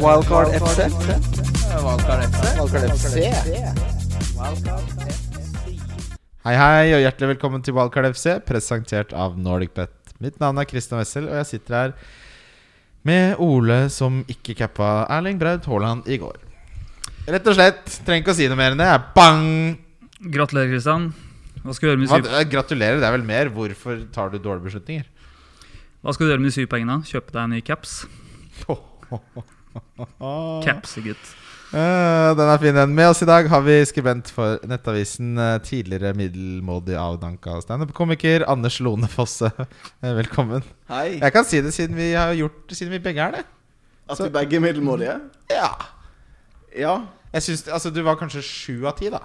Wildcard FC. Valgkart FC. Wildcard FC. Hei, hei, og hjertelig velkommen til Wildcard FC, presentert av NordicBet. Mitt navn er Christian Wessel, og jeg sitter her med Ole som ikke cappa Erling Braut Haaland i går. Rett og slett. Trenger ikke å si noe mer enn det. Jeg er Bang! Gratulerer, Kristian. Hva skal du gjøre med de Hva, syv, gratulerer, det er vel mer. Hvorfor tar du dårlige beslutninger? hva skal du gjøre med de syv pengene? Kjøpe deg en ny caps? Caps, gutt. Eh, den er fin, den. Med oss i dag har vi skribent for Nettavisen, eh, tidligere middelmådig avdanka standup-komiker Anders Lone Fosse. Eh, Velkommen. Hei. Jeg kan si det siden vi har gjort Siden vi begge er det. At vi begge er middelmådige? Ja Ja. Jeg synes, altså Du var kanskje sju av ti, da.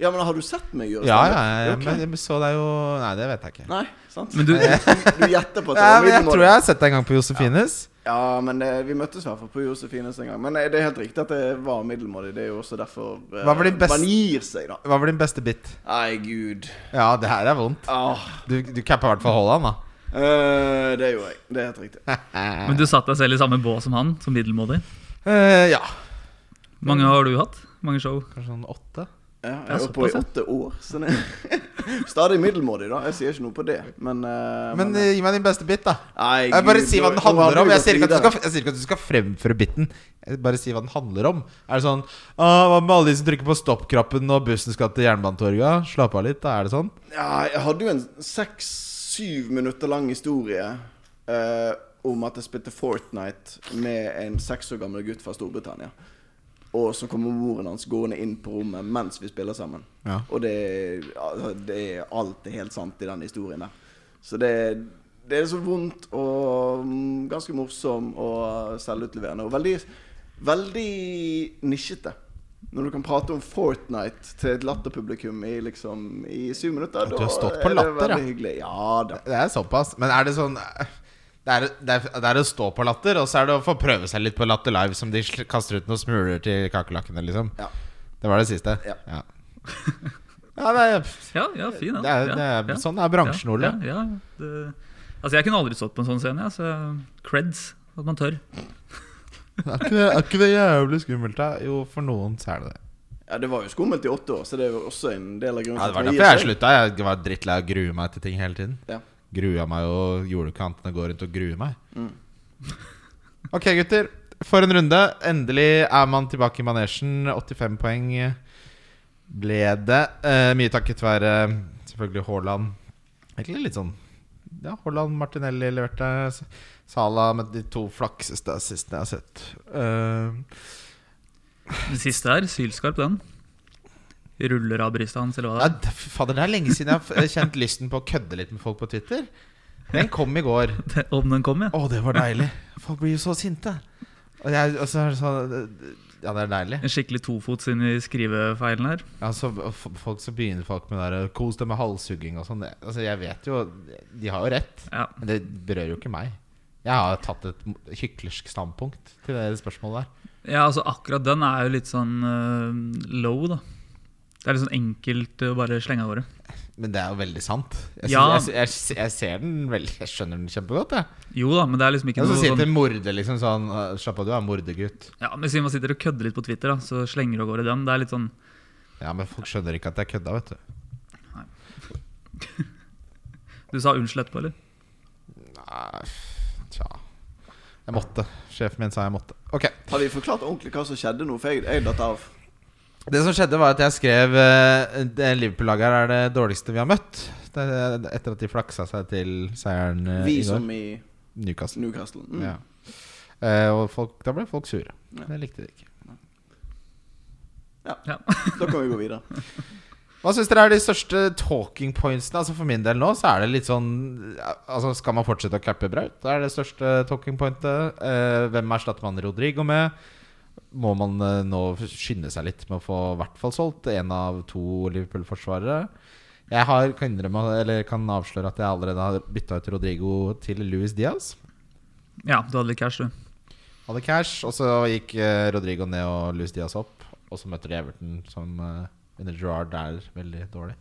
Ja, men har du sett meg gjøre Ja, ja, standup? ja, Ok. men jeg så deg jo Nei, det vet jeg ikke. Nei, sant? Men du- Du gjetter på at det Nei, var men jeg tror middelmådig? jeg har sett deg en gang på Josefines. Ja, men det, vi møttes i hvert fall på Josefines en gang. Men eh, det er helt riktig at det var middelmådig. Det er jo også derfor eh, Hva var din best- man gir seg, da. Hva var din beste bit? Nei, gud. Ja, det her er vondt. Ah, Du, du cappa i hvert fall Haaland, da. eh, det gjorde jeg. Det er helt riktig. Men du satte deg selv i samme bås som han, som middelmådig. Eh, ja. Mange har du hatt? Mange show? Kanskje sånn åtte? Ja, jeg Ja, er oppe i såpass, ja. åtte år, så det Stadig middelmådig, da. Jeg sier ikke noe på det, men eh, Men eh, eh, gi meg din beste bit, da. nei, Jeg bare gud, si hva nå- den nå har handler om. vi Jeg gått sier ikke at du videre. skal, jeg sier ikke at du skal fremføre biten. Jeg bare si hva den handler om. Er det sånn «Ah, Hva med alle de som trykker på stoppknappen når bussen skal til Jernbanetorget? Slapp av litt, da. Er det sånn? Ja, jeg hadde jo en seks-syv minutter lang historie eh, om at jeg spilte Fortnite med en seks år gammel gutt fra Storbritannia. Og så kommer moren hans gående inn på rommet mens vi spiller sammen. Ja. Og det, altså, det er alt er helt sant i den historien der. Så det, det er så vondt og mm, ganske morsom og selvutleverende. Og veldig, veldig nisjete. Når du kan prate om Fortnite til et latterpublikum i, liksom, i syv minutter, du har stått på er det latter, ja. veldig hyggelig. Ja da. Det er såpass. Men er det sånn det er, det, er, det er å stå på latter, og så er det å få prøve seg litt på Latter Live, som de sl- kaster ut noen smuler til kakerlakkene, liksom. Ja. Det var det siste? Ja. Ja, Ja, det er, Ja, ja, fin. det er, det er, sånn er bransjen, Ole. Ja, ja, ja. Det, altså, jeg kunne aldri stått på en sånn scene, jeg, så creds at man tør. Er, ikke det, er ikke det jævlig skummelt, da? Jo, for noen så er det det. Ja, det var jo skummelt i åtte år, så det er jo også en del av grunnen Ja, det var man derfor jeg gir seg. slutta. Jeg var drittlei av å grue meg til ting hele tiden. Ja. Grua meg og julekantene går rundt og gruer meg. Mm. ok, gutter. For en runde. Endelig er man tilbake i manesjen. 85 poeng ble det. Eh, mye takket være selvfølgelig Haaland. Egentlig litt sånn Ja, Haaland, Martinelli leverte. Sala med de to flakseste assistene jeg har sett. Eh, Den siste her, sylskarp, den. Ruller av brystet hans, eller hva ja, det er. d- fy fader, det er lenge siden jeg har f- kjent lysten på å kødde litt med folk på Twitter. Den kom i går. Det- Om den kom, ja. Å, det var deilig. Folk blir jo så sinte. Og jeg, og så er det sånn Ja, det er deilig. En skikkelig tofots inn i skrivefeilen her. Altså, og f- folk så begynner folk med det der Kos deg med halshugging og sånn. Det- Altså, jeg vet jo De har jo rett. Ja. Men det berører jo ikke meg. Jeg har tatt et m- hyklersk standpunkt til det spørsmålet der. Ja, altså akkurat den er jo litt sånn eh, low, da. Det er litt sånn enkelt å bare slenge av gårde. Men det er jo veldig sant. Jeg, Ja. synes- jeg, jeg, jeg ser den veldig Jeg skjønner den kjempegodt, jeg. Jo da, men det er liksom ikke Og så noe sitter sånn en morder liksom sånn «Å, Slapp av, du er en mordergutt. Ja, men siden man sitter og kødder litt på Twitter, da, så slenger du av gårde den. Det er litt sånn Ja, men folk skjønner ikke at jeg kødda, vet du. Du sa unnskyld etterpå, eller? Nei, tja Jeg måtte. Sjefen min sa jeg måtte. Ok. Har vi forklart ordentlig hva som skjedde nå? For jeg, jeg datt av. Det som skjedde var at jeg skrev eh, det Liverpool-laget her er det dårligste vi har møtt. Det, etter at de flaksa seg til seieren eh, Vi i går. som i Newcastle. Newcastle. Mm. Ja. Eh, og folk, da ble folk sure. Ja. Det likte de ikke. Ja. Da kan vi gå videre. Hva syns dere er de største talking pointsene? Altså For min del nå så er det litt sånn ja, Altså Skal man fortsette å cappe Braut? Det er det største talking pointet. Eh, hvem erstatter man Rodrigo med? Må man eh, nå skynde seg litt med å få i hvert fall solgt én av to Liverpool-forsvarere? Jeg har, kan, innrømme, eller kan avsløre at jeg allerede har bytta ut Rodrigo til Luis Diaz. ja, du hadde litt cash, du. Hadde cash, og så gikk eh, Rodrigo ned og Luis Diaz opp. Og så møter de Everton, som eh, under Gerrard er veldig dårlig.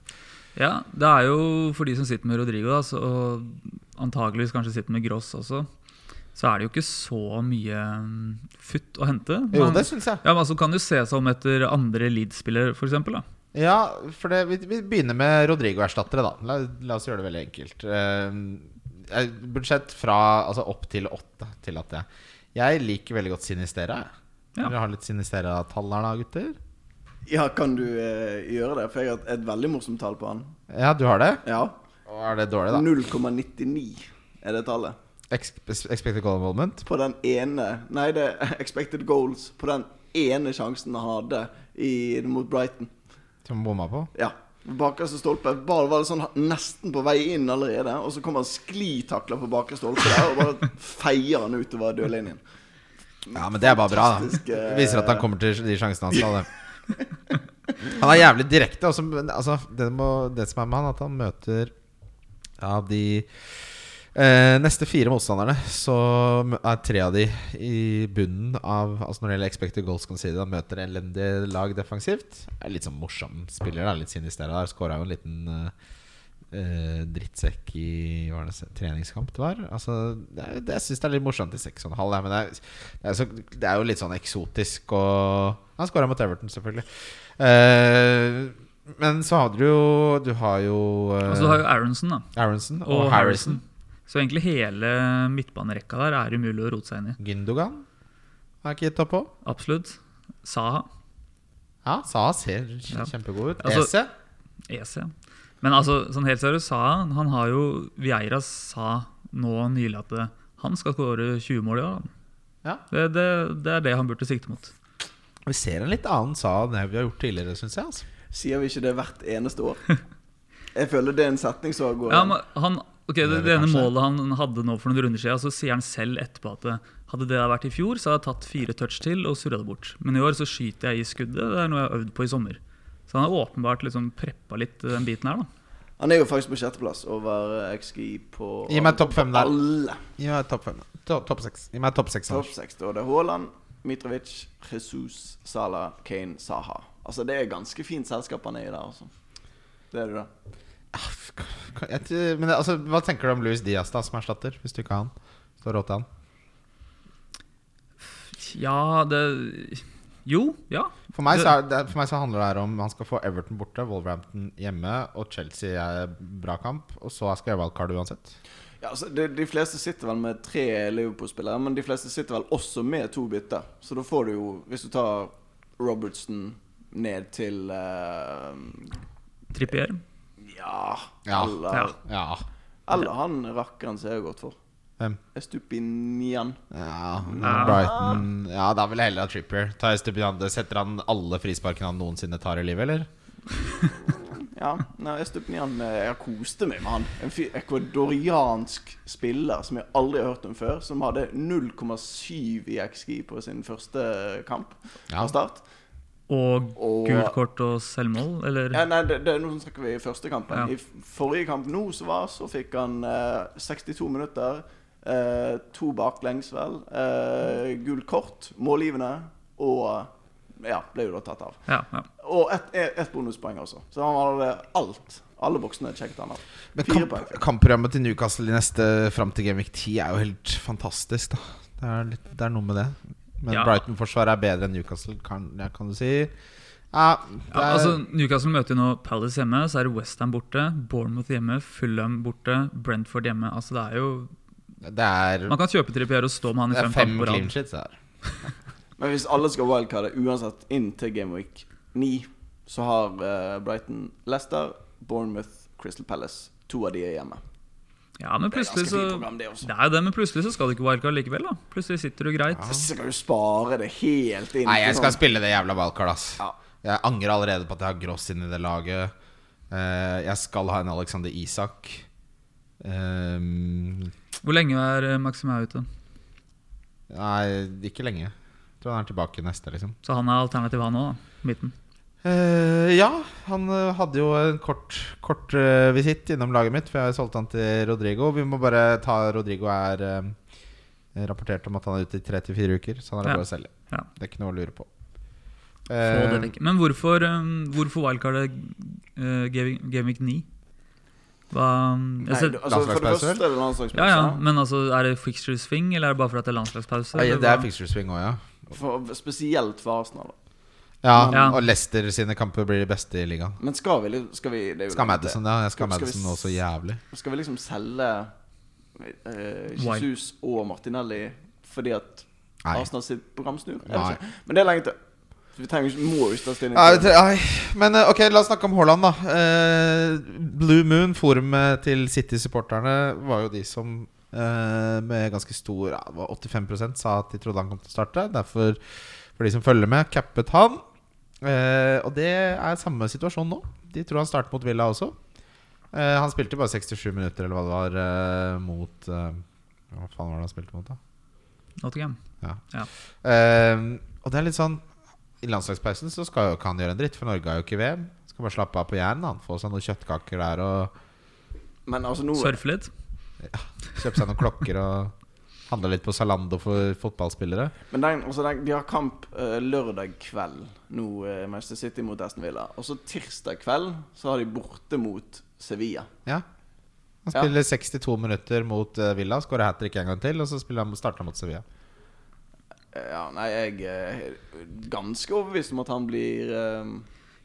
Ja, det er jo for de som sitter med Rodrigo, da, så, og antageligvis kanskje sitter med Gross også, så er det jo ikke så mye mm, futt å hente. Jo, Men- det syns jeg. ja, men altså kan du se seg om etter andre Leeds-spillere, f.eks. Ja, for det, vi, vi begynner med Rodrigo-erstattere, da. La, la oss gjøre det veldig enkelt. Eh, eh, budsjett fra altså opp til åtte, tillater jeg. Jeg liker veldig godt Sinistera. Ja. Ja. Dere har litt Sinistera-tall her, da, gutter? Ja, kan du eh, gjøre det? For jeg har et veldig morsomt tall på han. Ja, du har det? Ja. Å, Er det dårlig, da? 0,99 er det tallet. Ex expected goal involvement? På den ene Nei, det er expected goals på den ene sjansen han hadde i, mot Brighton. Som bomma på? Ja. Bakerste stolpe. Bare var det sånn nesten på vei inn allerede, og så kommer han sklitakla på bakre stolpe der, og bare feier han utover dørlinjen. Ja, men det er bare bra, da. Fantastisk, eh, Det Viser at han kommer til de sjansene han skal. Det. Han er jævlig direkte. Også, men, altså, det, må, det som er med han, at han møter av de eh, neste fire motstanderne, så mø- er tre av de i bunnen av Altså Når det gjelder expected goals, kan si det, han møter elendige lag defensivt. Er litt sånn morsom spiller, da. Litt sinistera der. Skåra jo en liten eh, eh, drittsekk i hva var det, treningskamp det var. Altså, det, er- det, jeg syns det er litt morsomt i 6,5. ja, Men det er, det, er så, det er jo litt sånn eksotisk og Han skåra mot Everton, selvfølgelig. Eh, men så har du jo Du har jo, eh, Altså, du har jo Aronson da, Aronson og, Harrison. Så egentlig hele midtbanerekka der er umulig å rote seg inn i. Gündogan har ikke gitt opp på. Absolutt. Saha, Ja, Saha ser kj- Ja. kjempegod ut. Altså- Eze? EC. Men altså, sånn helt seriøst, Saha han har jo Vieira sa nå nylig at eh, han skal skåre 20 mål i år. han. Ja. Det, det, det er det han burde sikte mot. Vi ser en litt annen Saha enn det vi har gjort tidligere, syns jeg. Altså. Sier vi ikke det hvert eneste år? Jeg føler det er en setning som går Ja, men han, ok, Det det, er det det ene kanskje. målet han hadde nå for noen runder siden, så sier han selv etterpå at eh, hadde det der vært i fjor, så hadde jeg tatt fire touch til og surra det bort. Men i år så skyter jeg i skuddet. Det er noe jeg har øvd på i sommer. Så han har åpenbart liksom preppa litt eh, den biten her, da. Han er jo faktisk på sjetteplass over eh, XGI på Gi meg topp fem der. alle. Gi meg topp fem. To- Topp seks. Gi meg topp seks. Topp Anders. seks. Da er det Haaland, Mitrovic, Jesus, Salah, Kane, Saha. Altså Det er ganske fint selskap han er i der, altså. Det er det, da. Ah, Kan- jeg t- Men altså, hva tenker du om Louis Diaz, da, som erstatter? Hvis du ikke har han? Står råd til han. Ja, det Jo, ja. For meg, så er det, for meg så handler det her om han skal få Everton borte, Wolverhampton hjemme, og Chelsea er bra kamp. Og så skal jeg wildcard uansett. Ja, altså, de, de fleste sitter vel med tre Liverpool-spillere, men de fleste sitter vel også med to bytter. Så da får du jo, hvis du tar Robertson ned til eh, Trippier. Ja. Ja. Eller, Ja. Ja. eller han rakkeren som jeg har gått for. Hvem? Estupinian. Ja, Brighton Ja, da vil jeg heller ha Trippier. Tar Estupinande, setter han alle frisparkene han noensinne tar i livet, eller? Ja, nei, Estupinian eh, Jeg koste meg med han. En fyr, ekvadoriansk spiller som jeg aldri har hørt om før, som hadde 0,7 i XG på sin første kamp Ja. fra start. Og Og- gult kort og selvmål, eller? Ja, nei, det, det, nå snakker vi i første kampen. Ja. I f- forrige kamp nå så var så fikk han eh, 62 minutter, eh, to baklengs vel, eh, gult kort, målgivende, og ja, ble jo da tatt av. Ja, ja. Og ett et bonuspoeng også. Så han hadde alt. Alle boksene sjekket han av. Men Fire kamp, poeng fikk han. kampprogrammet til Newcastle i neste fram til Gameweek 10 er jo helt fantastisk, da. Det er, litt, det er noe med det. Men Ja. Brighton-forsvaret er bedre enn Newcastle, kan, ja, kan du si. Ja, det Ja, er, altså, Newcastle møter jo nå Palace hjemme, så er det Westham borte, Bournemouth hjemme, Fulham borte, Brentford hjemme. Altså, det er jo det er, Man kan kjøpe Trippier og stå med han i det er fem fem kamper på clean rad. sheets her. Men hvis alle skal wildcarde uansett inn til Gameweek 9, så har eh, Brighton Leicester, Bournemouth, Crystal Palace. To av de er hjemme. Ja, men Det er plutselig ganske så fint program, det også. Det er jo det, men plutselig så skal du ikke wildcard likevel, da. Plutselig sitter du greit. Så skal du spare det helt inn. Ah. Nei, jeg til skal sånn- spille det jævla wildcard, ass. Ja. Jeg angrer allerede på at jeg har Gross inn i det laget. Eh, jeg skal ha en Alexander Isak. Um, Hvor lenge er eh, Maxima ute? Nei, ikke lenge. Jeg tror han er tilbake neste, liksom. Så han er alternativ, han òg, da. Midten. Eh, ja, han eh, hadde jo en kort, kort eh, visitt innom laget mitt, for jeg solgte han til Rodrigo. Vi må bare ta Rodrigo er eh, rapportert om at han er ute i tre til fire uker, så han er Ja. bare å selge. Ja. Det er ikke noe å lure på. Få det Eh, eh, vekk. Men hvorfor, um, hvorfor wildcardet uh, Gaming 9? Hva, jeg Nei, ser, altså, for det Landslagspause, første er det landslagspause. ja, ja, men altså, er det fixture swing, eller er det bare fordi det er landslagspause? Ja, eller det er hva? fixture swing òg, ja. For, spesielt for Arsenal. da. ja. Ja. Og Leicester sine kamper blir de beste i ligaen. Men skal vi, li- skal vi det er jo Skal litt- Madison, ja. Jeg skal Skal vi Madison nå s- så jævlig. Skal vi liksom selge eh, Jesus og Martinelli fordi at Nei. Arsenal sitt program snur? Er det Nei. ikke? Men det er lenge til. Så Vi trenger ikke, må jo ikke ta stilling Ja, til det- ai. Men eh, ok, la oss snakke om Haaland, da. Eh, Blue Moon, forumet til City-supporterne, var jo de som eh, med ganske stor ja, det var 85 sa at de trodde han kom til å starte. Derfor, for de som følger med, cappet han. Eh, og det er samme situasjon nå. De tror han starter mot Villa også. Eh, han spilte bare 67 minutter, eller hva det var, eh, mot eh, Hva faen var det han spilte mot, da? Nottingham. Ehm, og det er litt sånn I landslagspausen så skal jo ikke han gjøre en dritt, for Norge har jo ikke VM. Skal bare slappe av på Jæren. Han får seg noen kjøttkaker der og Men altså nå Surfe litt. kjøpe seg noen klokker og handle litt på Zalando for fotballspillere. Men den, altså den, de har kamp eh, lørdag kveld nå, eh, Manchester City mot Aston Villa. Og så tirsdag kveld så har de borte mot Sevilla. Ja. Han spiller 62 minutter mot eh, Villa, skårer hat trick en gang til, og så spiller han, starter han mot Sevilla. Eh, ja, nei, jeg eh, er ganske overbevist om at han blir eh,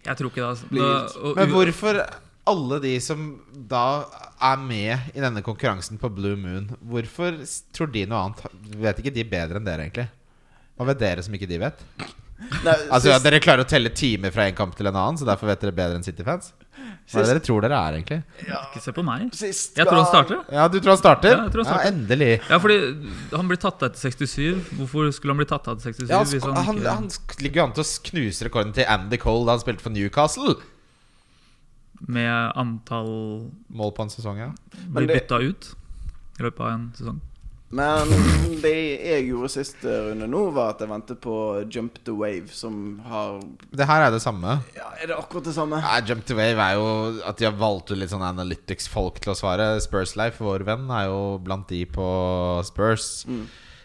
Jeg tror ikke det. Altså. Blir Da- gilt. og- Men hvorfor alle de som da er med i denne konkurransen på Blue Moon, hvorfor s- tror de noe annet? Vet ikke de bedre enn dere, egentlig? Hva vet dere som ikke de vet? nei, Altså ja, sist- Dere klarer å telle timer fra en kamp til en annen, så derfor vet dere bedre enn City-fans? Hva er det dere tror dere er, egentlig? Ikke se på meg. sist Jeg tror han gang- starter. Ja, du tror han starter? Ja, jeg tror han starter. endelig. Ja, fordi han blir tatt av etter 67. Hvorfor skulle han bli tatt av etter 67? Ja, han, hvis sk- han, han, sånn ikke... han sk- ligger jo an til å knuse rekorden til Andy Cole da han spilte for Newcastle. Med antall Mål på en sesong, ja. blir det- bytta ut i løpet av en sesong. Men det jeg gjorde siste runde nå, var at jeg ventet på Jump the Wave, som har Det her er det samme. Ja, er det akkurat det samme? Ja, Jump to Wave er jo at de har valgt ut litt sånn Analytics-folk til å svare. Spurs-Leif, vår venn, er jo blant de på Spurs.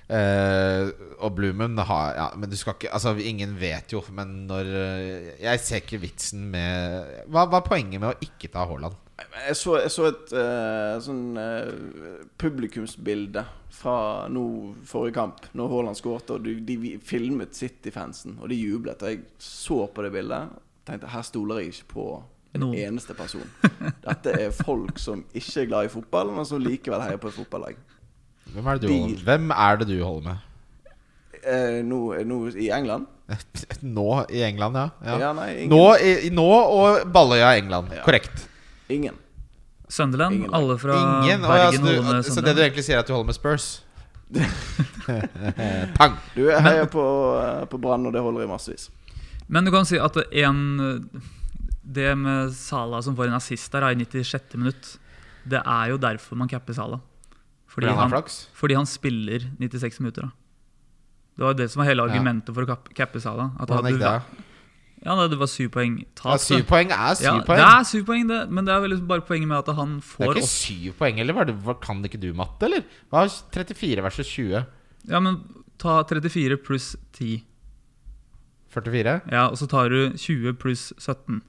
Eh, og Bloomen har ja, Men du skal ikke Altså, ingen vet jo, men når eh, Jeg ser ikke vitsen med Hva hva er poenget med å ikke ta Haaland? Jeg så, jeg så et eh, sånn eh, publikumsbilde fra nå forrige kamp, når Haaland skåret, og du, de vi- filmet City-fansen, og de jublet. Og jeg så på det bildet tenkte her stoler jeg ikke på en Noen. eneste person. Dette er folk som ikke er glad i fotball, men som likevel heier på et fotballag. Hvem er det du holder, hvem er det du holder med? Eh, nå, nå i England Nå i England, ja. ja. Ja, nei, ingen. Nå, i, i- nå og Balløya i England. Ja. Korrekt. Ingen. Sunderland, Ingen. alle fra Ingen, å, ja, så, Bergen du, så holder med det du Sunderland. egentlig sier, er at du holder med Spurs? Pang! Du jeg heier på, eh, på Brann, og det holder i massevis. Men du kan si at en, det med Sala som får en assist der, er i 96. minutt. Det er jo derfor man capper Sala. Fordi Fordi han har han, flaks? fordi han spiller 96 minutter. Da. Det var det som var hele Ja. argumentet for å kap- cappe Sala. At Hvordan hadde gikk du- det? Ja, nei, det var syv poeng. Ja, Tap, syv da. poeng er syv Ja, poeng. Det er syv poeng, det, men det er vel bare poenget med at han Det er får ikke opp- syv poeng heller. Var det- hva- Kan ikke du matte, eller? Hva er 34 versus 20? Ja, men ta 34 pluss 10. 44? Ja, og så tar du 20 pluss 17.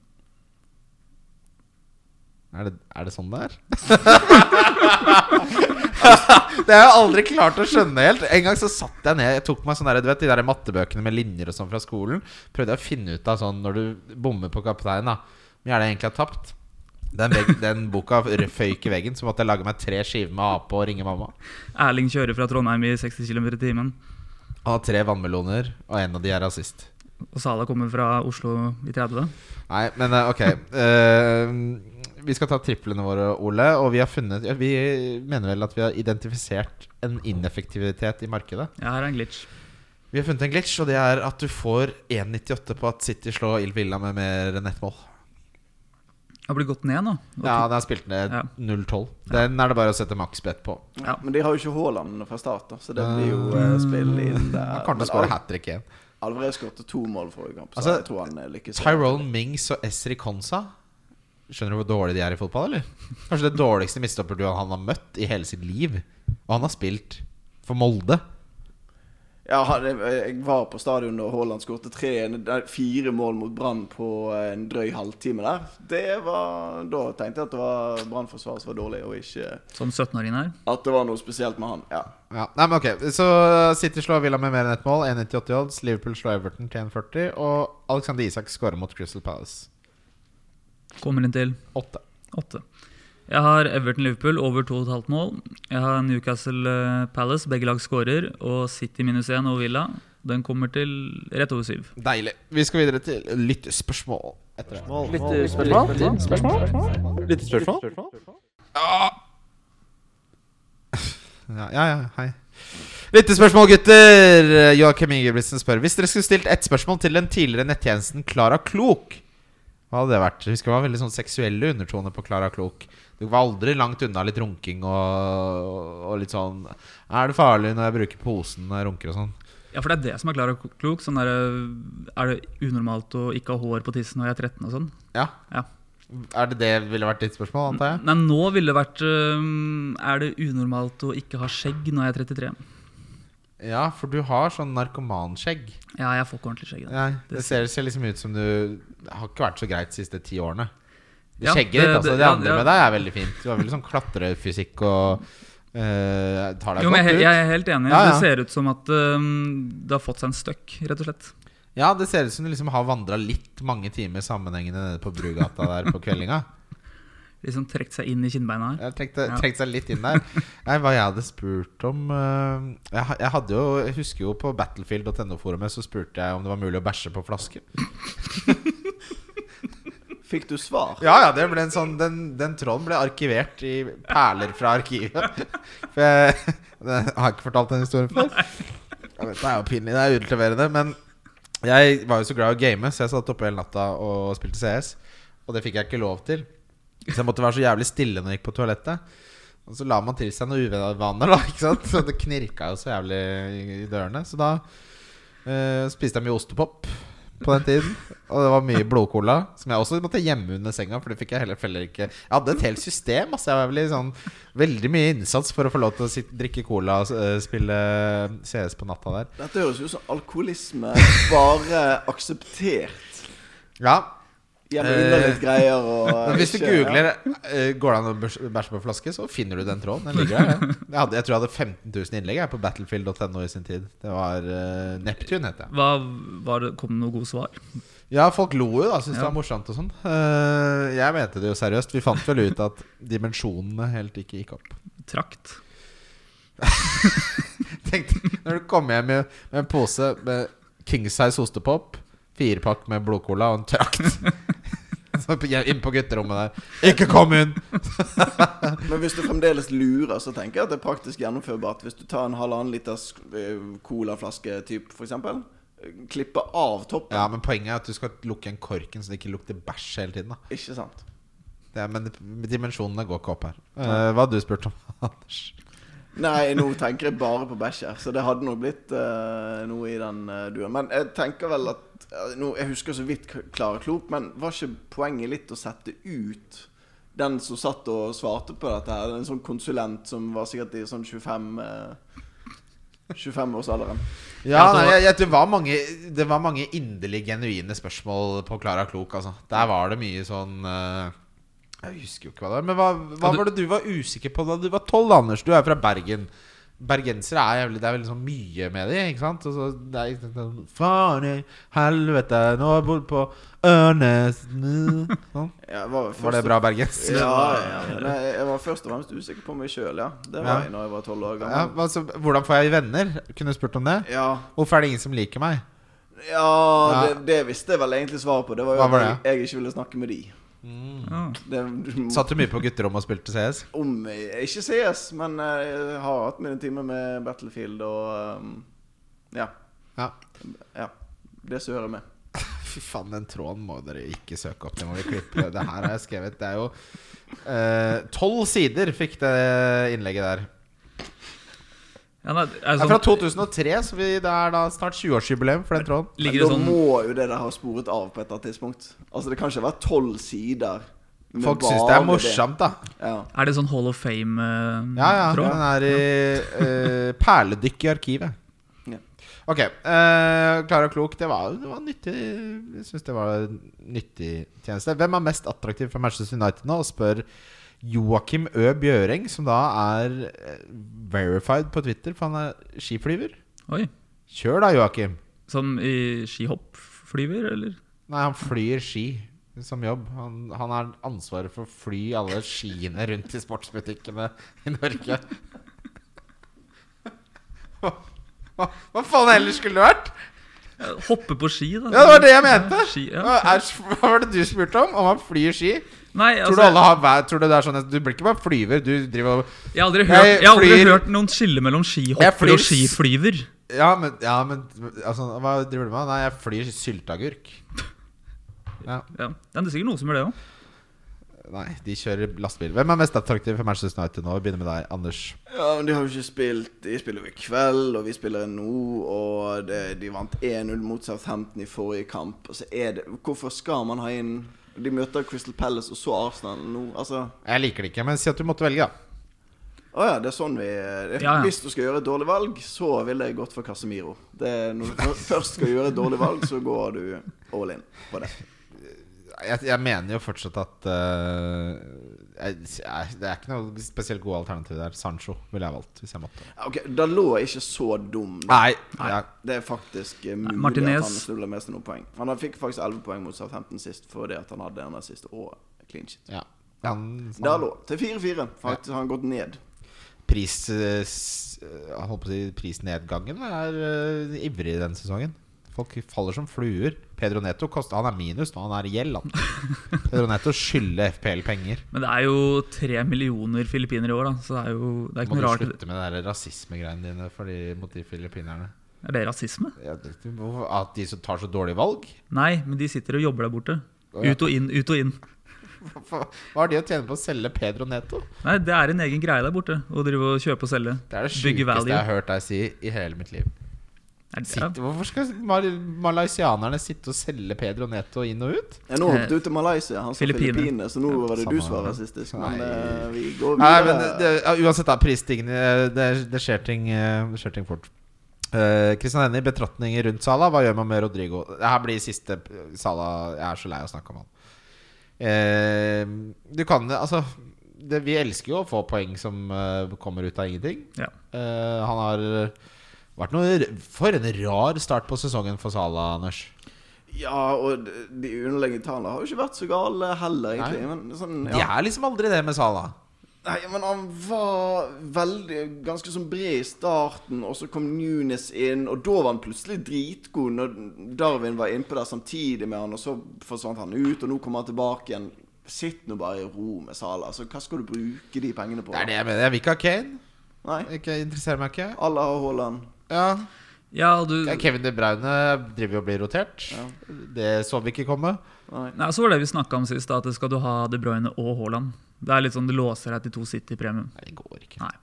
Er det, er det sånn det er? det har jeg aldri klart å skjønne helt. En gang så satt jeg ned Jeg tok meg sånn der, du vet, de der mattebøkene med linjer og sånn fra skolen. Prøvde jeg å finne ut av sånn når du bommer på kapteinen, da. Hvor mye er det jeg egentlig har tapt? Den, vegg, den boka røyk i veggen, så måtte jeg lage meg tre skiver med ape og ringe mamma. Erling kjører fra Trondheim i 60 km i timen. Han har tre vannmeloner, og en av de er rasist. Og Sala kommer fra Oslo i 30. Nei, men eh, ok. Eh, vi skal ta triplene våre, Ole. Og vi har funnet ja, Vi mener vel at vi har identifisert en ineffektivitet i markedet. Ja, her er en glitch. Vi har funnet en glitch, og det er at du får 1,98 på at City slår Il Villa med mer enn ett mål. Det har blitt gått ned nå. Og Ja, den er spilt ned Ja. 0,12. Den er det bare å sette maksbett på. Ja. Men de har jo ikke Haaland fra start, da, så det blir jo eh, spill inn der. Han kommer til Men å skåre hat trick igjen. Al- Alvarez skåret to mål forrige kamp, så Altså, jeg tror han eh, lykkes. Tyrone Mings og Esri Konsa. Skjønner du hvor dårlig de er i fotball, eller? Kanskje det dårligste midtstopperduoen han har møtt i hele sitt liv. Og han har spilt for Molde. Ja, han- jeg var på stadion da Haaland skåret tre, nei, fire mål mot Brann på en drøy halvtime der. Det var, Da tenkte jeg at det var Brann-forsvaret som var dårlig, og ikke Som 17-åring her. at det var noe spesielt med han. Ja. Ja, nei, men ok Så City slår Villa med mer enn ett mål. 1,98 odds. Liverpool slår Everton til 1,40. Og Alexander Isak scorer mot Crystal Palace. Kommer inn til 8. åtte. Jeg har Everton-Liverpool over 2,5 mål. Jeg har Newcastle eh, Palace, begge lag skårer. Og City minus 1 og Villa. Den kommer til rett over syv. Deilig. Vi skal videre til lyttespørsmål. Etter det. Ja, ja, ja, hei. Lyttespørsmål, gutter! Joakim Ingebrigtsen spør Hvis dere skulle stilt ett spørsmål til den tidligere nettjenesten Klara Klok, hva hadde det vært? Jeg husker det var veldig sånn seksuelle undertoner på Klara Klok. Du var aldri langt unna litt runking og, og litt sånn Er det farlig når jeg bruker posen når jeg runker og sånn? Ja, for det er det som er klar og klok. Sånn der, eh, er det unormalt å ikke ha hår på tissen når jeg er 13 og sånn? Ja. Ja. Er det det ville vært ditt spørsmål, antar jeg? Nei, nå ville det vært eh, Er det unormalt å ikke ha skjegg når jeg er 33? Ja, for du har sånn narkomanskjegg. Ja, jeg får ikke ordentlig skjegg. da. Nei, det ser, ser liksom ut som du Det har ikke vært så greit de siste ti årene. Det Ja, skjegget det- ditt, altså. det- Det ja, andre ja. med deg er veldig fint. Du har veldig sånn klatrefysikk og eh, tar deg Jo, men godt jeg, ut. jeg er helt enig. Ja, ja. Det ser ut som at eh, det har fått seg en støkk, rett og slett. Ja, det ser ut som du liksom har vandra litt mange timer sammenhengende nede på Brugata der på kveldinga. Liksom trukket seg inn i kinnbeina her. Jeg tenkte, Ja. tenkte seg litt inn der. Nei, hva jeg hadde spurt om eh, jeg, ha- jeg hadde jo Jeg husker jo på battlefield.no-forumet så spurte jeg om det var mulig å bæsje på flasker. Fikk du svar? Ja, ja, det ble en sånn Den, den tråden ble arkivert i perler fra arkivet. For jeg, jeg har ikke fortalt den historien før. Jeg vet, det er jo pinlig, det er utleverende. Men jeg var jo så glad i å game, så jeg satt oppe hele natta og spilte CS. Og det fikk jeg ikke lov til. Så jeg måtte være så jævlig stille når jeg gikk på toalettet. Og så la man til seg noen uvaner, da. Ikke sant? Så det knirka jo så jævlig i, i dørene. Så da eh, spiste jeg mye ostepop på den tiden. Og det var mye blodcola, som jeg også måtte gjemme under senga. For det fikk jeg heller, heller ikke Jeg hadde et helt system. Altså, jeg var veldig, sånn, veldig mye innsats for å få lov til å sitte, drikke cola og eh, spille CS på natta der. Dette høres ut som alkoholisme bare akseptert. Ja, Gjennom underlitt greier og Eh, men Hvis du ikke- googler eh, 'Går det an å bæsj- bæsje på flaske', så finner du den tråden. Den ligger der. ja. Jeg, hadde, jeg tror jeg hadde 15 000 innlegg jeg, på battlefield.no i sin tid. Det var eh, Neptun, het jeg. Hva var det, Kom det noe gode svar? Ja, folk lo jo da, syntes det Ja. var morsomt og sånn. Eh, jeg mente det jo seriøst. Vi fant vel ut at dimensjonene helt ikke gikk opp. Trakt? Tenkte, når du kommer hjem med, med en pose med King Size ostepop, firepakk med blodcola og en trakt Så på- Inn på gutterommet der. Ikke kom inn! Men hvis du fremdeles lurer, så tenker jeg at det er praktisk gjennomførbart. Hvis du tar en halvannen liters eh, colaflaske typ, for eksempel. eh, Klippe av toppen. Ja, men poenget er at du skal lukke igjen korken så det ikke lukter bæsj hele tiden. da Ikke sant? det er, Men dimensjonene går ikke opp her. Eh, hva har du spurt om, Anders? Nei, nå tenker jeg bare på bæsj her, så det hadde nok blitt eh, noe i den eh, duoen. Men jeg tenker vel at eh, nå, Jeg husker så vidt k- Klara Klok, men var ikke poenget litt å sette ut den som satt og svarte på dette her? En sånn konsulent som var sikkert i sånn 25 eh, 25-årsalderen. Ja, Ja, nei, det var- jeg, jeg, det, var mange, det var mange inderlig genuine spørsmål på Klara Klok. Altså. Der var det mye sånn eh, Jeg husker jo ikke hva det var. Men hva, hva Ja, du- var det du var usikker på da du var tolv, Anders? Du er fra Bergen. Bergensere er jævlig Det er veldig sånn mye med de, ikke sant? Og så det er ikke sånn Faen i helvete, nå har jeg bodd på Ørnesen Sånn. Ja, jeg var, først- Var det bra bergensk? Ja, ja. Nei, jeg var først og fremst usikker på meg sjøl, ja. Det var Ja. jeg når jeg var tolv år Ja, gammel. altså, hvordan får jeg venner? Kunne du spurt om det? Ja, Hvorfor er det ingen som liker meg? ja det, det visste jeg vel egentlig svaret på. Det var jo Hva var at jeg, jeg ikke ville snakke med de. Mm. Ja. Det, Satt du mye på gutterommet og spilte CS? om jeg ikke ses, men eh, jeg har hatt mine timer med Battlefield og ehm, ja, Ja. ja. Det som hører med. Fy faen, den tråden må dere ikke søke opp. Det må vi klippe. Det her har jeg skrevet. Det er jo eh, Tolv sider fikk det innlegget der. Ja, nei, er det Det er sånn, fra 2003, så vi, det er da snart 20-årsjubileum for den tråden. Men da ligger det sånn må jo det der ha sporet av på et eller annet tidspunkt. Altså Det kan ikke være tolv sider. med Folk syns det bare er morsomt, da. Ja. Er det sånn Hall of Fame-tråd? Ja, ja. Den er i eh, perledykk i eh, arkivet. Ja. Ok. eh, Klar og klok, det var, det var nyttig Jeg syns det var en nyttig tjeneste. Hvem er mest attraktiv for Manchester United nå? Og spør Joakim Ø. Bjøreng, som da er eh, verified på Twitter, for han er skiflyver. Oi. Kjør da, Joakim. Som i skihopp flyver, eller? Nei, han flyr ski som jobb. Han, han har ansvaret for å fly alle skiene rundt i sportsbutikkene i Norge. Hva, hva, hva faen ellers skulle det vært? Eh, Hoppe på ski, da. Ja, det var det jeg mente! Ja, ski, ja. Hva er, hva var det du spurte om? Om han flyr ski? Nei, Tror altså, du alle har hver Tror du det er sånn at Du blir ikke bare flyver, du driver og jeg har aldri, hørt, Jeg jeg har aldri flyr- hørt noen skille mellom Jeg skihopper flyr og skiflyver. Ja, men, ja, men altså, Hva driver du med? Nei, jeg flyr sylteagurk. Ja. Ja, Det er sikkert noen som gjør det òg. Nei, de kjører lastebil. Hvem er mest attraktiv for Manchester United nå? Vi begynner med deg, Anders. Ja, men de har jo ikke spilt De spiller jo i kveld, og vi spiller nå, og det, de vant 1-0 mot Southampton i forrige kamp. Og så er det Hvorfor skal man ha inn De møter Crystal Palace og så Arsenal nå, altså Jeg liker det ikke, men si at du måtte velge, da. Å ja, det er sånn vi det, Ja, ja. Hvis du skal gjøre et dårlig valg, så ville jeg gått for Casemiro. Det, er når du først skal gjøre et dårlig valg, så går du all in på det. Jeg, jeg mener jo fortsatt at eh, jeg, jeg, Det er ikke noe spesielt gode alternativ der. Sancho ville jeg valgt, hvis jeg måtte. Ok, Dalot er ikke så dum. da. Nei. Ja. Det er faktisk eh, mulig Martinez. at han snubler med seg noen poeng. Han hadde- fikk faktisk 11 poeng mot Southampton sist fordi at han hadde den der siste og clean shit. ja. Han- Der lå til 4-4. Faktisk har han gått ned. pris, eh, s- eh, jeg holdt på å si prisnedgangen er eh, ivrig denne sesongen. Folk faller som fluer. Pedro Neto koster, han er minus nå, han er i gjeld. han. Pedro Neto skylder FPL penger. Men det er jo tre millioner filippinere i år, da. Så det er jo det er Må ikke du noe rart. slutte med det der rasismegreiene dine for de, mot de filippinerne? Er det rasisme? Ja, det- hvorfor- At de som tar så dårlige valg? Nei, men de sitter og jobber der borte. Å, ja. Ut og inn, ut og inn. Hva hva har de å tjene på å selge Pedro Neto? Nei, Det er en egen greie der borte. Å drive og kjøpe og selge. Det er det Bygge sjukeste value. jeg har hørt deg si i hele mitt liv. Er det, ja. Sitte, hvorfor skal mal malaysianerne sitte og selge Pedro Neto inn og ut? Ja, nå hoppet du til Malaysia. Han sa Filippine. Filippinene, så nå var det Eh, samme du som var her. rasistisk. Men Nei. eh, vi går Nei, videre. men det, det, ja, uansett, da. Pristingene det, det skjer ting eh, Det skjer ting fort. Eh, Christian Hennie, betraktninger rundt Sala. Hva gjør man med Rodrigo? Det her blir siste eh, Sala Jeg er så lei av å snakke om han. Eh, du kan Altså, det, vi elsker jo å få poeng som eh, kommer ut av ingenting. Ja. Eh, han har vært noe For en rar start på sesongen for Sala, Anders. Ja, og de- de underliggende tallene har jo ikke vært så gale heller, egentlig. Men, sånn, De ja. er liksom aldri det med Sala. Nei, men han var veldig ganske sånn bred i starten, og så kom Nunes inn, og da var han plutselig dritgod når Darwin var innpå der samtidig med han, og så forsvant han ut, og nå kommer han tilbake igjen. Sitt nå bare i ro med Sala. Altså, hva skal du bruke de pengene på? Det er det jeg mener. Jeg vil ikke ha Kane. Nei. Ikke interesserer meg ikke. Alle har Haaland. Ja ja, du Ja, Kevin De Bruyne driver jo og blir rotert. Det så vi ikke komme. Nei. Nei, så var det vi snakka om sist, da, at skal du ha De Bruyne og Haaland. Det er litt sånn, det låser deg til to City-premium. Nei, det går ikke. Nei.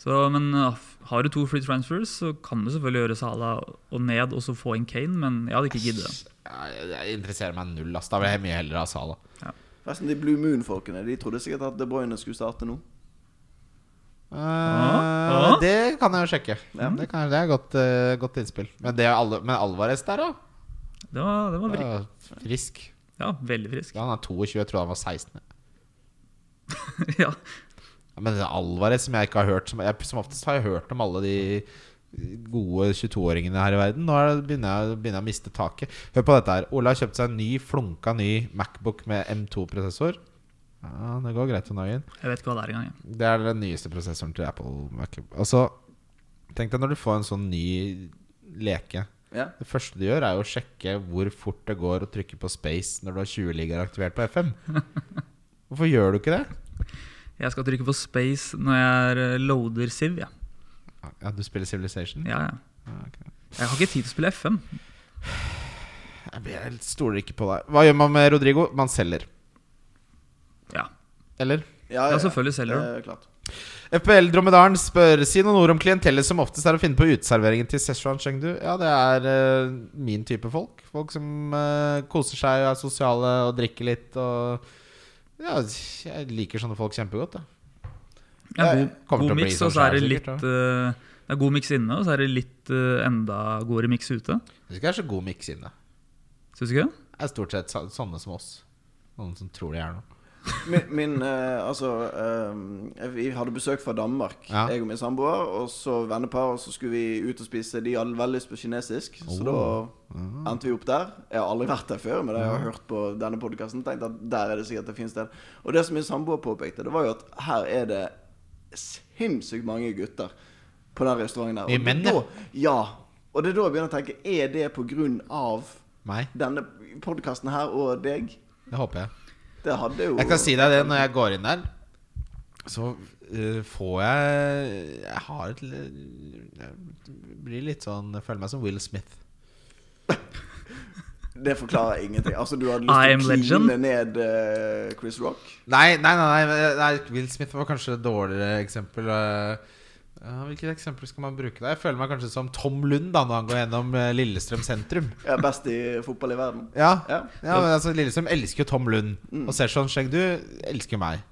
Så, men ja, har du to free transfers, så kan du selvfølgelig gjøre Sala og ned og så få inn Kane, men jeg hadde ikke giddet. det. Jeg, jeg interesserer meg null. Ass. Da vil jeg mye heller ha Sala. Forresten, de Blue Moon-folkene De trodde sikkert at De Bruyne skulle starte nå. Eh, Ja, ja. Det kan jeg jo sjekke. Det, kan, jeg- det er godt, eh, godt innspill. Men, det er alle, men Alvarez der, da? Det var, det var vri- Ja, frisk. ja, veldig frisk. Ja, han er 22, jeg trodde han var 16. Ja. Ja, Men det er Alvarez som jeg ikke har hørt Som, jeg, som oftest har jeg hørt om alle de gode 22-åringene her i verden. Nå er det, begynner, jeg, begynner jeg å miste taket. Hør på dette her. Ole har kjøpt seg en ny, flunka ny Macbook med M2-prosessor. Ja, det går greit om dagen. Jeg vet ikke hva det er engang. jeg. Det er den nyeste prosessoren til Apple Mac. Og så Tenk deg når du får en sånn ny leke. Ja. Det første du gjør, er jo å sjekke hvor fort det går å trykke på space når du har 20-ligaer aktivert på FM. Hvorfor gjør du ikke det? Jeg skal trykke på space når jeg er, eh, loader Siv. Ja. Ja, Du spiller Civilization? Ja, ja. Ja, ok. Jeg har ikke tid til å spille FM. Jeg ber- jeg stoler ikke på deg. Hva gjør man med Rodrigo? Man selger. Ja, Eller? Ja, ja selvfølgelig selger du. Det er klart. FPL Dromedaren spør Si noen ord om klientellet som oftest er å finne på uteserveringen til Szechuan Chengdu. Ja, det er eh, min type folk. Folk som eh, koser seg og er sosiale og drikker litt og Ja, jeg liker sånne folk kjempegodt, da. Ja, Ja, god, kommer til god å bli mix, sånn og så er det skjær, litt sikkert, eh, Det Det er god miks inne, og så er det litt eh, enda godere miks ute. Syns ikke det er så god miks inne. Syns du ikke det? Det er stort sett så- sånne som oss. Noen som tror de er noe. Min, min eh, altså eh, Vi hadde besøk fra Danmark, Ja. jeg og min samboer. Og så vennepar, og så skulle vi ut og spise. De hadde veldig lyst på kinesisk, så da Oh. Mm. endte vi opp der. Jeg har aldri vært der før, men jeg har hørt på denne podkasten. Tenkt at der er det sikkert et fint sted. Og det som min samboer påpekte, det var jo at her er det sinnssykt mange gutter på den restauranten der. Mye Og menn, da, ja. ja. Og det er da jeg begynner å tenke, er det på grunn av Meg. denne podkasten her og deg? Det håper jeg. Det hadde jo Jeg kan si deg det når jeg går inn der. Så eh, får jeg Jeg har et l- Jeg blir litt sånn Jeg føler meg som Will Smith. Det forklarer ingenting. Altså, du hadde I am lyst til å legend. kline ned eh, Chris Rock? Nei, nei, nei, nei, nei Will Smith var kanskje et dårligere eksempel. eh. Ja, hvilket eksempel skal man bruke? da? Jeg føler meg kanskje som Tom Lund da når han går gjennom eh, Lillestrøm sentrum. Jeg er best i fotball i verden. Ja, ja. Mm. Ja. men altså Lillestrøm elsker jo Tom Lund. Og Session Skjegg, du elsker meg.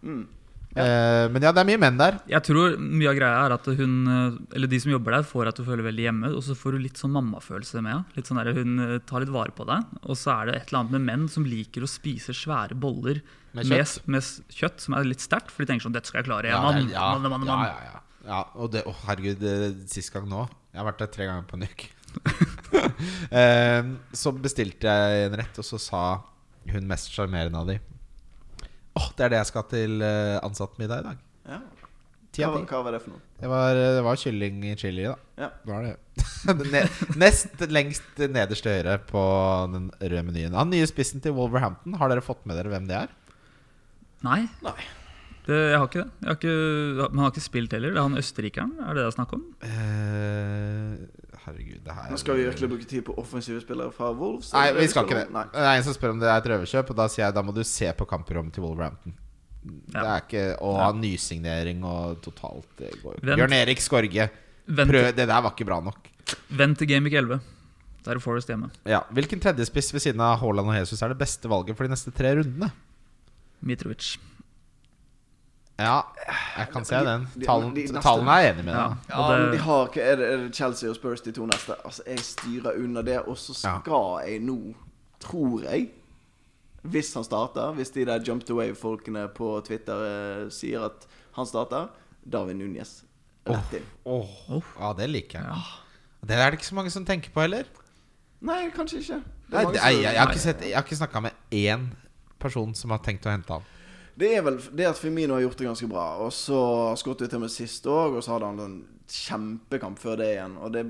Eh, men ja, det er mye menn der. Jeg tror mye av greia er at hun, eh, eller de som jobber der, får at du føler veldig hjemme, og så får du litt sånn mammafølelse med henne. Litt sånn der, Hun eh, tar litt vare på deg. Og så er det et eller annet med menn som liker å spise svære boller Med med kjøtt. kjøtt, med, s- s- kjøtt som er litt sterkt, for de tenker sånn Dette skal jeg klare, jeg er Ja, det mann. er- ja, mann, mann, ja, mann. ja, ja. ja og det, å, herregud, eh, sist gang nå Jeg har vært der tre ganger på en uke. Eh, så bestilte jeg en rett, og så sa hun mest sjarmerende av de Å, det er det jeg skal til eh, ansattmiddag i dag. Ja. Ti Hva, av ti. hva var det for noe? Det var, eh, det var kylling i chili, da. Ja. Det var det. Ne- Nest lengst nederst til høyre på den røde menyen. Han nye spissen til Wolverhampton, har dere fått med dere hvem det er? Nei. Nei. Det, jeg har ikke det. Jeg har ikke, man har ikke spilt heller. Det er han østerrikeren, er det det jeg snakker om? Eh, herregud, det her Nå skal vi virkelig bruke tid på offensive spillere fra Wolves? Nei, eller vi skal ikke det. Wolves? Nei. Det er en som spør om det er et røverkjøp, og da sier jeg da må du se på kamperommet til Wolverhampton. Det Ja. er ikke å ha nysignering og totalt Det går jo ikke. Vent. Bjørn Erik Skorge, Vent, prøv, det der var ikke bra nok. vent til Gameweek 11. Da er det Forest hjemme. Ja. Hvilken tredjespiss ved siden av Haaland og Jesus er det beste valget for de neste tre rundene? Mitrovic. Ja, jeg kan se den. de- Tallen, de neste- tallene er jeg enig med Ja, deg i. Ja, og men de det, har, ikke- er, det, er det Chelsea og Spurs de to neste? Altså, Jeg styrer under det, og så Ja. skal jeg nå, tror jeg Hvis han starter, hvis de der Jumped Away-folkene på Twitter eh, sier at han starter, Darwin Núñez rett inn. Åh, Ja, det liker jeg. Det er det ikke så mange som tenker på heller. Nei, kanskje ikke. Det Nei, mange det, som- jeg, jeg, har ikke sett- jeg har ikke snakka med én person som har tenkt å hente han. Det er vel det at Firmino har gjort det ganske bra. Og så skåret vi til med sist òg, og så hadde han en kjempekamp før det igjen. Og det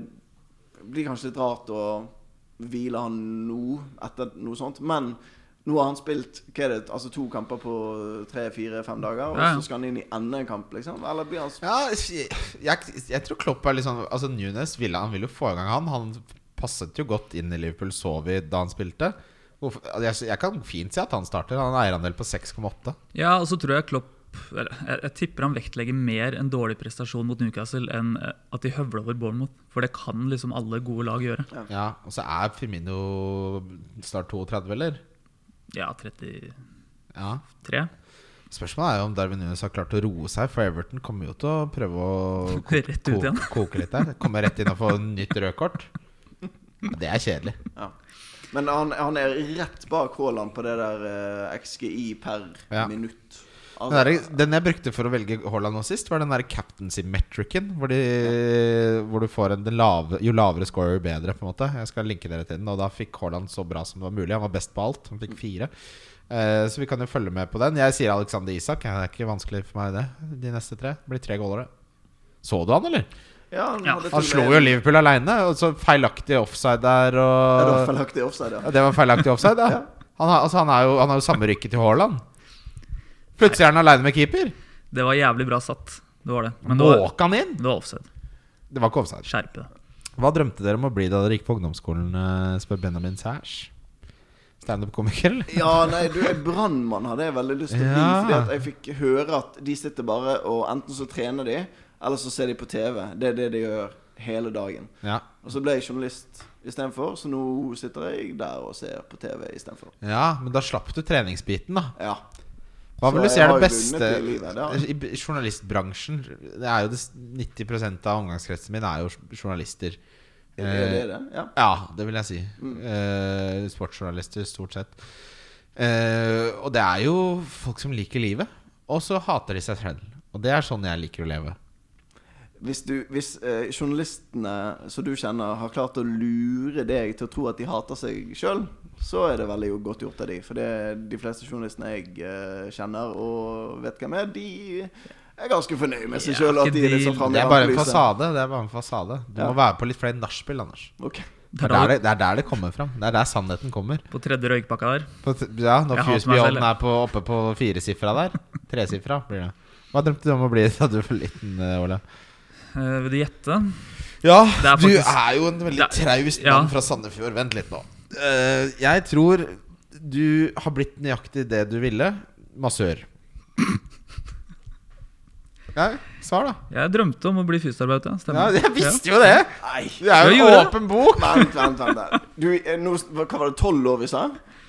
blir kanskje litt rart å hvile han nå etter noe sånt. Men nå har han spilt hva er det, altså to kamper på tre-fire-fem dager, og Ja, ja. så skal han inn i enda en kamp, liksom? Eller blir han Ja, jeg, jeg tror Klopp er litt sånn Altså Nunes ville, han ville jo få i gang han. Han passet jo godt inn i Liverpool, så vi da han spilte. Hvorfor, altså, jeg, jeg kan fint si at han starter. Han har eierandel på 6,8. ja, og så tror jeg Klopp eller, jeg, jeg tipper han vektlegger mer en dårlig prestasjon mot Newcastle enn eh, at de høvler over Bournemouth. For det kan liksom alle gode lag gjøre. Ja, og så er Firmino snart 32, eller? Ja, 33. Ja. Spørsmålet er jo om Darwin Nunes har klart å roe seg, for Everton kommer jo til å prøve å ko- Rett ut ko- igjen. koke litt der. Kommer rett inn og får nytt rødt kort. Det er kjedelig. ja. Men han, han er rett bak Haaland på det der eh, XGI per Ja. minutt. Altså, Den, der, den jeg brukte for å velge Haaland nå sist, var den der captaincy-metricen. Hvor, de, hvor du får en den lave, Jo lavere score, jo bedre. på en måte Jeg skal linke dere til den. Og da fikk Haaland så bra som det var mulig. Han var best på alt. Han fikk fire. Eh, så vi kan jo følge med på den. Jeg sier Alexander Isak. Det er ikke vanskelig for meg, det. De neste tre. Det blir tre goaler, det. Så du han, eller? ja, han, Ja. hadde til Han og slo med- jo Liverpool aleine. Og så feilaktig offside der. Ja, det Og var feilaktig offside, ja. ja, Det var feilaktig offside, da. Han har, altså, han er jo, han har jo samme rykke til Haaland. Plutselig er han aleine med keeper. Det var jævlig bra satt. Det var det. Men det var, Måke han inn! det var offside. Det var ikke offside. Skjerpe deg. Hva drømte dere om å bli da dere gikk på ungdomsskolen, eh, spør Benjamin Sæsj. Standup-komiker, eller? Ja, nei, du er brannmann, hadde jeg veldig lyst til å bli. Ja. Fordi at jeg fikk høre at de sitter bare og enten så trener de, eller så ser de på TV. Det er det de gjør hele dagen. Ja. Og så ble jeg journalist istedenfor, så nå sitter jeg der og ser på TV istedenfor. ja, men da slapp du treningsbiten, da. Ja. Hva Så vil du jeg si er har det jo beste Eh, vunnet i livet, det har jeg. I b- journalistbransjen Det er jo det, s- 90 av omgangskretsen min er jo j- journalister. Eh, Er det det? Mm. er det? Ja. Ja, det vil jeg si. Eh, sportsjournalister, stort sett. Eh, og det er jo folk som liker livet, og så hater de seg selv. Og det er sånn jeg liker å leve. Hvis, du, hvis eh, journalistene som du kjenner, har klart å lure deg til å tro at de hater seg sjøl, så er det veldig jo godt gjort av de. For det, de fleste journalistene jeg eh, kjenner og vet hvem er, de er ganske fornøyd med seg Ja, sjøl. At ikke de er de- liksom framme Det i er bare en rampelyset. fasade. Det er bare en fasade Du Ja. må være på litt flere nachspiel, Anders. Ok. Det er, der det, det er der det kommer fram. Det er der sannheten kommer. På tredje røykpakka der. På t- ja, når Jeg hater Fuse meg Beyond selv, jeg. er på, oppe på firesifra der. Tresifra blir det. Hva drømte du om å bli da du var liten, eh, Ole? Eh, vil du gjette? Ja, Det er faktisk- du er jo en veldig Ja, traust ja. mann fra Sandefjord. Vent litt nå. Eh, jeg tror du har blitt nøyaktig det du ville. Massør. Ja, svar, da. Jeg drømte om å bli fysioterapeut. ja, Ja, Stemmer. jeg visste jo det! Nei. Du er jo Du en gjorde det. åpen bok. Vent, vent, vent. der. Du, eh, nå, hva var det, tolv år vi sa?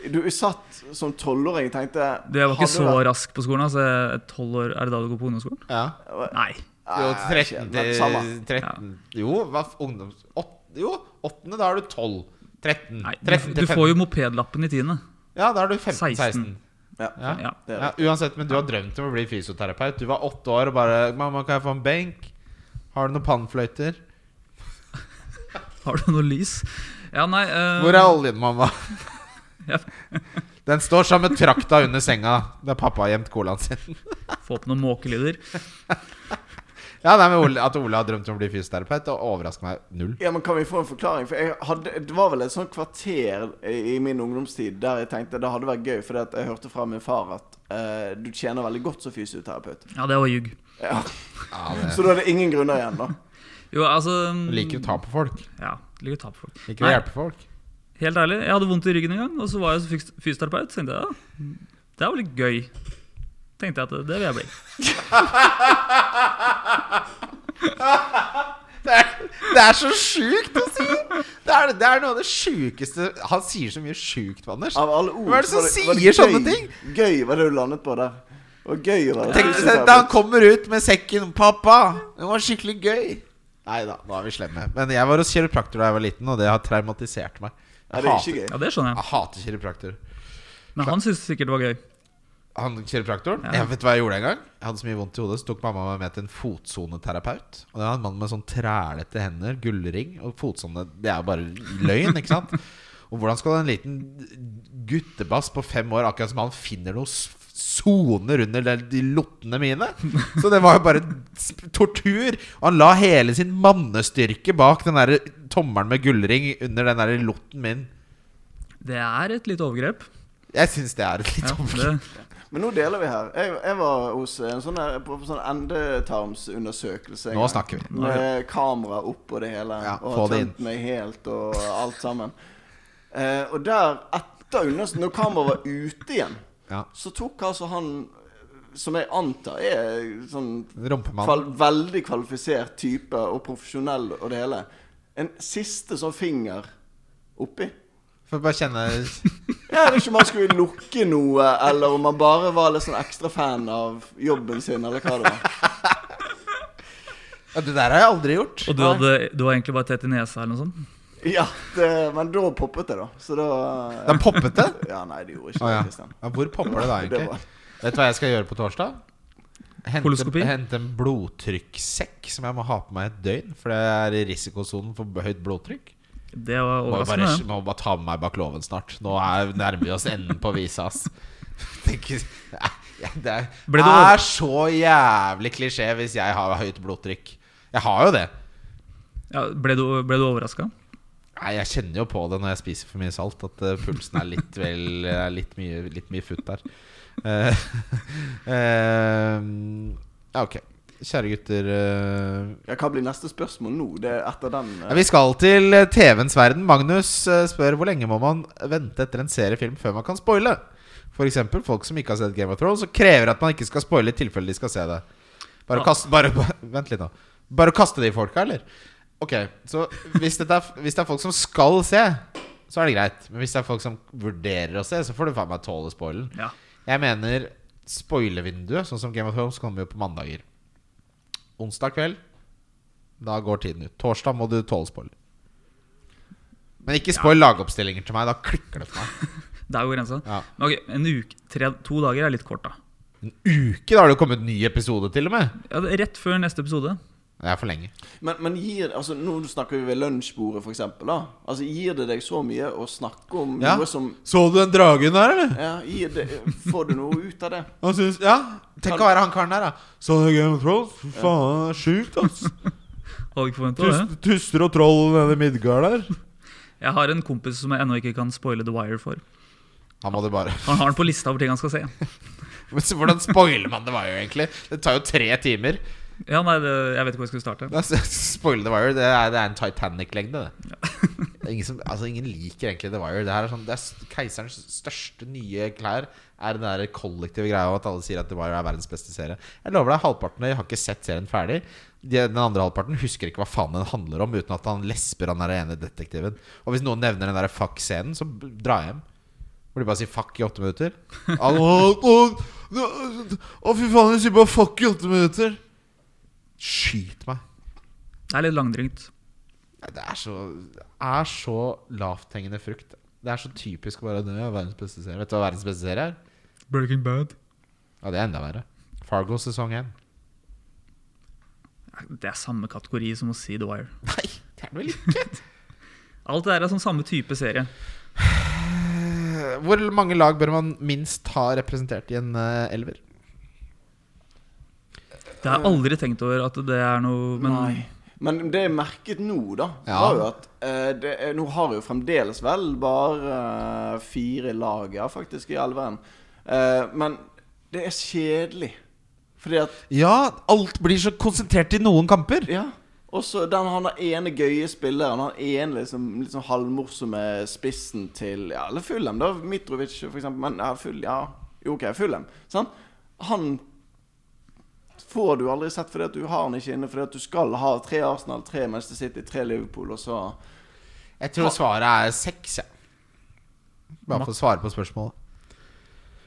Du satt som tolvåring og tenkte Du, jeg var hadde ikke så vært- rask på skolen. Altså, 12 år, er det da du går på ungdomsskolen? Ja. Nei. Jo, Nei, 13 ikke, men samme. til 13 Jo, hva f- ungdoms... åt- Jo, åttende, da er du 12. 13. Nei, du, 13 du til får jo mopedlappen i tiende. Ja, da er du 15-16. 16. Ja. Ja. Ja. Det er Ja, uansett, men du har drømt om å bli fysioterapeut. Du var åtte år og bare 'Mamma, kan jeg få en benk?' Har du noen pannfløyter? Har du noe lys? Ja, nei eh, Hvor er oljen, mamma? Ja. Den står som en trakta under senga der pappa har gjemt colaen sin. Få på noen måkelyder. Ja, nei, men Ole, At Ole har drømt om å bli fysioterapeut, det overrasker meg null. Ja, men Kan vi få en forklaring? For jeg hadde, Det var vel et sånt kvarter i i min ungdomstid der jeg tenkte det hadde vært gøy, fordi at jeg hørte fra min far at eh, du tjener veldig godt som fysioterapeut. Ja, det var ljug. Ja. Ja, det- Så da er det ingen grunner igjen, da. Jo, altså mm, Du liker å ta på folk. Ja, liker å ta på folk. Liker å Nei, hjelpe folk. helt ærlig, jeg hadde vondt i ryggen en gang, og så var jeg så fys- fysioterapeut. Så tenkte jeg ja, det er jo litt gøy. Tenkte jeg at det, det vil jeg bli. Det er, det er så sjukt å si! Det er, det er noe av det sjukeste Han sier så mye sjukt, Anders. Av alle ord Hva er det så som var sier gøy. sånne ting? Gøy var det du landet på der. Og gøy var det. Tenk deg da han kommer ut med sekken 'Pappa, det var skikkelig gøy'. Nei da, nå er vi slemme. Men jeg var hos kiropraktor da jeg var liten, og det har traumatisert meg. Ja, det Jeg er hater- ikke gøy. Ja, det skjønner Jeg jeg. hater kiropraktor. Men han syntes sikkert det var gøy. Han kiropraktoren Ja. Jeg vet hva jeg gjorde en gang. Jeg hadde så mye vondt i hodet, så tok mamma meg med til en fotsoneterapeut. Og det var en mann med sånn trælete hender, gullring, og fotsone Det er jo bare løgn, ikke sant? Og hvordan skal en liten guttebass på fem år, akkurat som han finner noen s- soner under de- de lottene mine? Så det var jo bare sp- tortur. Og han la hele sin mannestyrke bak den derre tommelen med gullring under den derre lotten min. Det er et lite overgrep. Jeg syns det er et litt Ja, overgrep. det, Men nå deler vi her. Jeg, jeg var hos en sånn der, på, på sånn endetarmsundersøkelse. en Nå gang. snakker vi. Med kamera opp og det hele. Ja, og få har det inn. tømt meg helt og alt sammen. Eh, og der, etter undersøkelsen, når kameraet var ute igjen, Ja. så tok altså han som jeg antar er sånn Rumpemann. kval veldig kvalifisert type og profesjonell og det hele, en siste sånn finger oppi. Får bare kjenne Jeg vet ikke om han skulle lukke noe, eller om han bare var litt sånn ekstra fan av jobben sin, eller hva det var. Ja, Det der har jeg aldri gjort. og du, hadde, du var egentlig bare tett i nesa eller noe sånt? Ja, det, Men da poppet det, da. Så da Den poppet det? Ja, nei, det gjorde ikke Å, ja. det, Kristian. ja, hvor popper det da, Det egentlig? var- Vet du hva jeg skal gjøre på torsdag? Hente, Koloskopi? hente en blodtrykkssekk som jeg må ha på meg et døgn. For det er i risikosonen for høyt blodtrykk. Det var Må jo overraskende. bare, det. må bare ta med meg bakloven snart. Nå er, nærmer vi oss enden på visa, ass. Tenker, Nei, det er, Ble du over- er så jævlig klisjé hvis jeg har høyt blodtrykk. Jeg har jo det. Ja, ble du, ble du overraska? Nei, Jeg kjenner jo på det når jeg spiser for mye salt, at eh, pulsen er litt vel er litt, mye, litt mye futt der. Eh, eh, ja, ok. Kjære gutter. eh, Ja, hva blir neste spørsmål nå? Det er etter den ja, vi skal til eh, TV-ens verden. Magnus eh, spør hvor lenge må man vente etter en seriefilm før man kan spoile? F.eks. folk som ikke har sett Game of Thrones, og krever at man ikke skal spoile i tilfelle de skal se det. Bare Ja. kaste bare, bare, Vent litt nå. Bare kaste de folka, eller? Ok, så hvis, dette er, hvis det er folk som skal se, så er det greit. Men hvis det er folk som vurderer å se, så får du faen meg tåle spoilen. Ja. Jeg mener spoilervinduet, sånn som Game of Thrones, kommer jo på mandager. Onsdag kveld, da går tiden ut. Torsdag må du tåle spoiler. Men ikke spoil lagoppstillinger til meg. Da klikker det for meg. Der går grensa. Ja. Men ok, en uke, tre, to dager er litt kort, da. En uke, da har det jo kommet ny episode, til og med. Ja, det- rett før neste episode. Det er for lenge. Men, men gir altså, Nå snakker vi ved lunsjbordet, f.eks. Altså, gir det deg så mye å snakke om Ja. noe som Så du den dragen der, eller? ja, gir det, Får du noe ut av det? Han synes, ja, Tenk å være han karen der, da. Så det Game of Thrones? Fy faen, det er sjukt, ass. Hadde ikke forventet det. Tus- Tuster og troll nede i Midgard der. Jeg har en kompis som jeg ennå ikke kan spoile The Wire for. Han må du bare Han har den på lista over ting han skal se. Men så Hvordan spoiler man The Wire, egentlig? Det tar jo tre timer. Ja, nei, det, Jeg vet ikke hvor jeg skulle starte. Det er- Spoiler The Wire, det er, det er en Titanic-lengde, det. Det er Ingen, som, altså, ingen liker egentlig The Wire. Det her er sånn, det er s- Keiserens største nye klær er den der kollektive greia av at alle sier at The Wire er verdens beste serie. Jeg lover deg, halvparten av de har ikke sett serien ferdig. De, den andre halvparten husker ikke hva faen den handler om, uten at han lesper han der ene detektiven. Og hvis noen nevner den der fuck-scenen, så b- dra hjem. Hvor de bare sier fuck i åtte minutter. Å, fy faen, de sier bare fuck i åtte minutter. Skyt meg. Det er litt langdrygt. Nei, Det er så, det er så lavthengende frukt. Det er så typisk å bare Det er verdens beste serie. Vet du hva verdens beste serie er? Breaking Bad. Ja, det er enda verre. Fargo sesong 1. Det er samme kategori som å si The Wire. Nei, det er det vel ikke? Alt det der er sånn samme type serie. Eh, Hvor mange lag bør man minst ha representert i en eh, elver? Det har jeg aldri tenkt over at det er noe Men Nei. Men det jeg merket nå, da, Ja. var jo at eh, det er, Nå har jo fremdeles vel bare eh, fire lag, ja, faktisk, i elveren. Eh, men det er kjedelig. Fordi at Ja, alt blir så konsentrert i noen kamper. Ja. Og så den han der ene gøye spilleren, han ene liksom, litt sånn halvmorsomme spissen til Ja, eller Fulham, da. Mitrovic, for eksempel. Men ja, full, ja. Jo, OK, Fulham. Sant? Han får du aldri sett fordi at du har han ikke inne, fordi at du skal ha tre Arsenal, tre Manchester City, tre Liverpool, og så Jeg tror svaret er seks, ja. Bare for å svare på spørsmålet.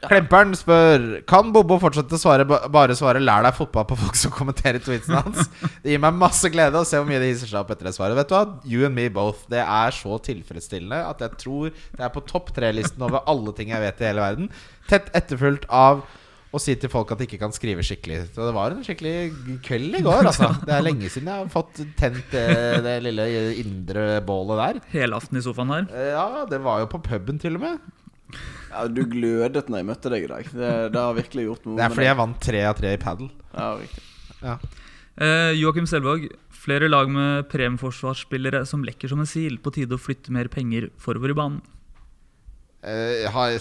Klemperen spør Kan Bobo fortsette å svare, ba- bare svare 'lær deg fotball' på folk som kommenterer tweetsen hans. Det gir meg masse glede å se hvor mye det hisser seg opp etter det svaret. Vet du hva? You and me both. Det er så tilfredsstillende at jeg tror det er på topp tre-listen over alle ting jeg vet i hele verden. Tett etterfulgt av å si til folk at de ikke kan skrive skikkelig. Så det var en skikkelig kveld i går, altså. Det er lenge siden jeg har fått tent det, det lille indre bålet der. Helaften i sofaen her. Eh, Ja, det var jo på puben til og med. Ja, du glødet når jeg møtte deg i dag. Det, det har virkelig gjort noe Det er fordi med jeg vant tre av tre i padel. deg. Ja, riktig. Eh, Joakim Selvåg. Flere lag med premieforsvarsspillere som lekker som en sil. På tide å flytte mer penger forover i banen. Eh, jeg har-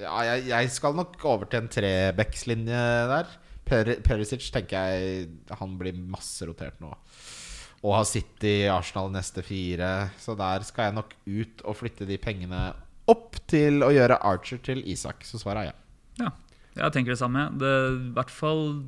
ja, jeg, jeg skal nok over til en trebeckslinje der. Per, Perisic tenker jeg han blir masse rotert nå. Og har City, Arsenal neste fire. Så der skal jeg nok ut og flytte de pengene opp til å gjøre Archer til Isak. Så svaret er ja. Ja, jeg tenker det samme. Det, I hvert fall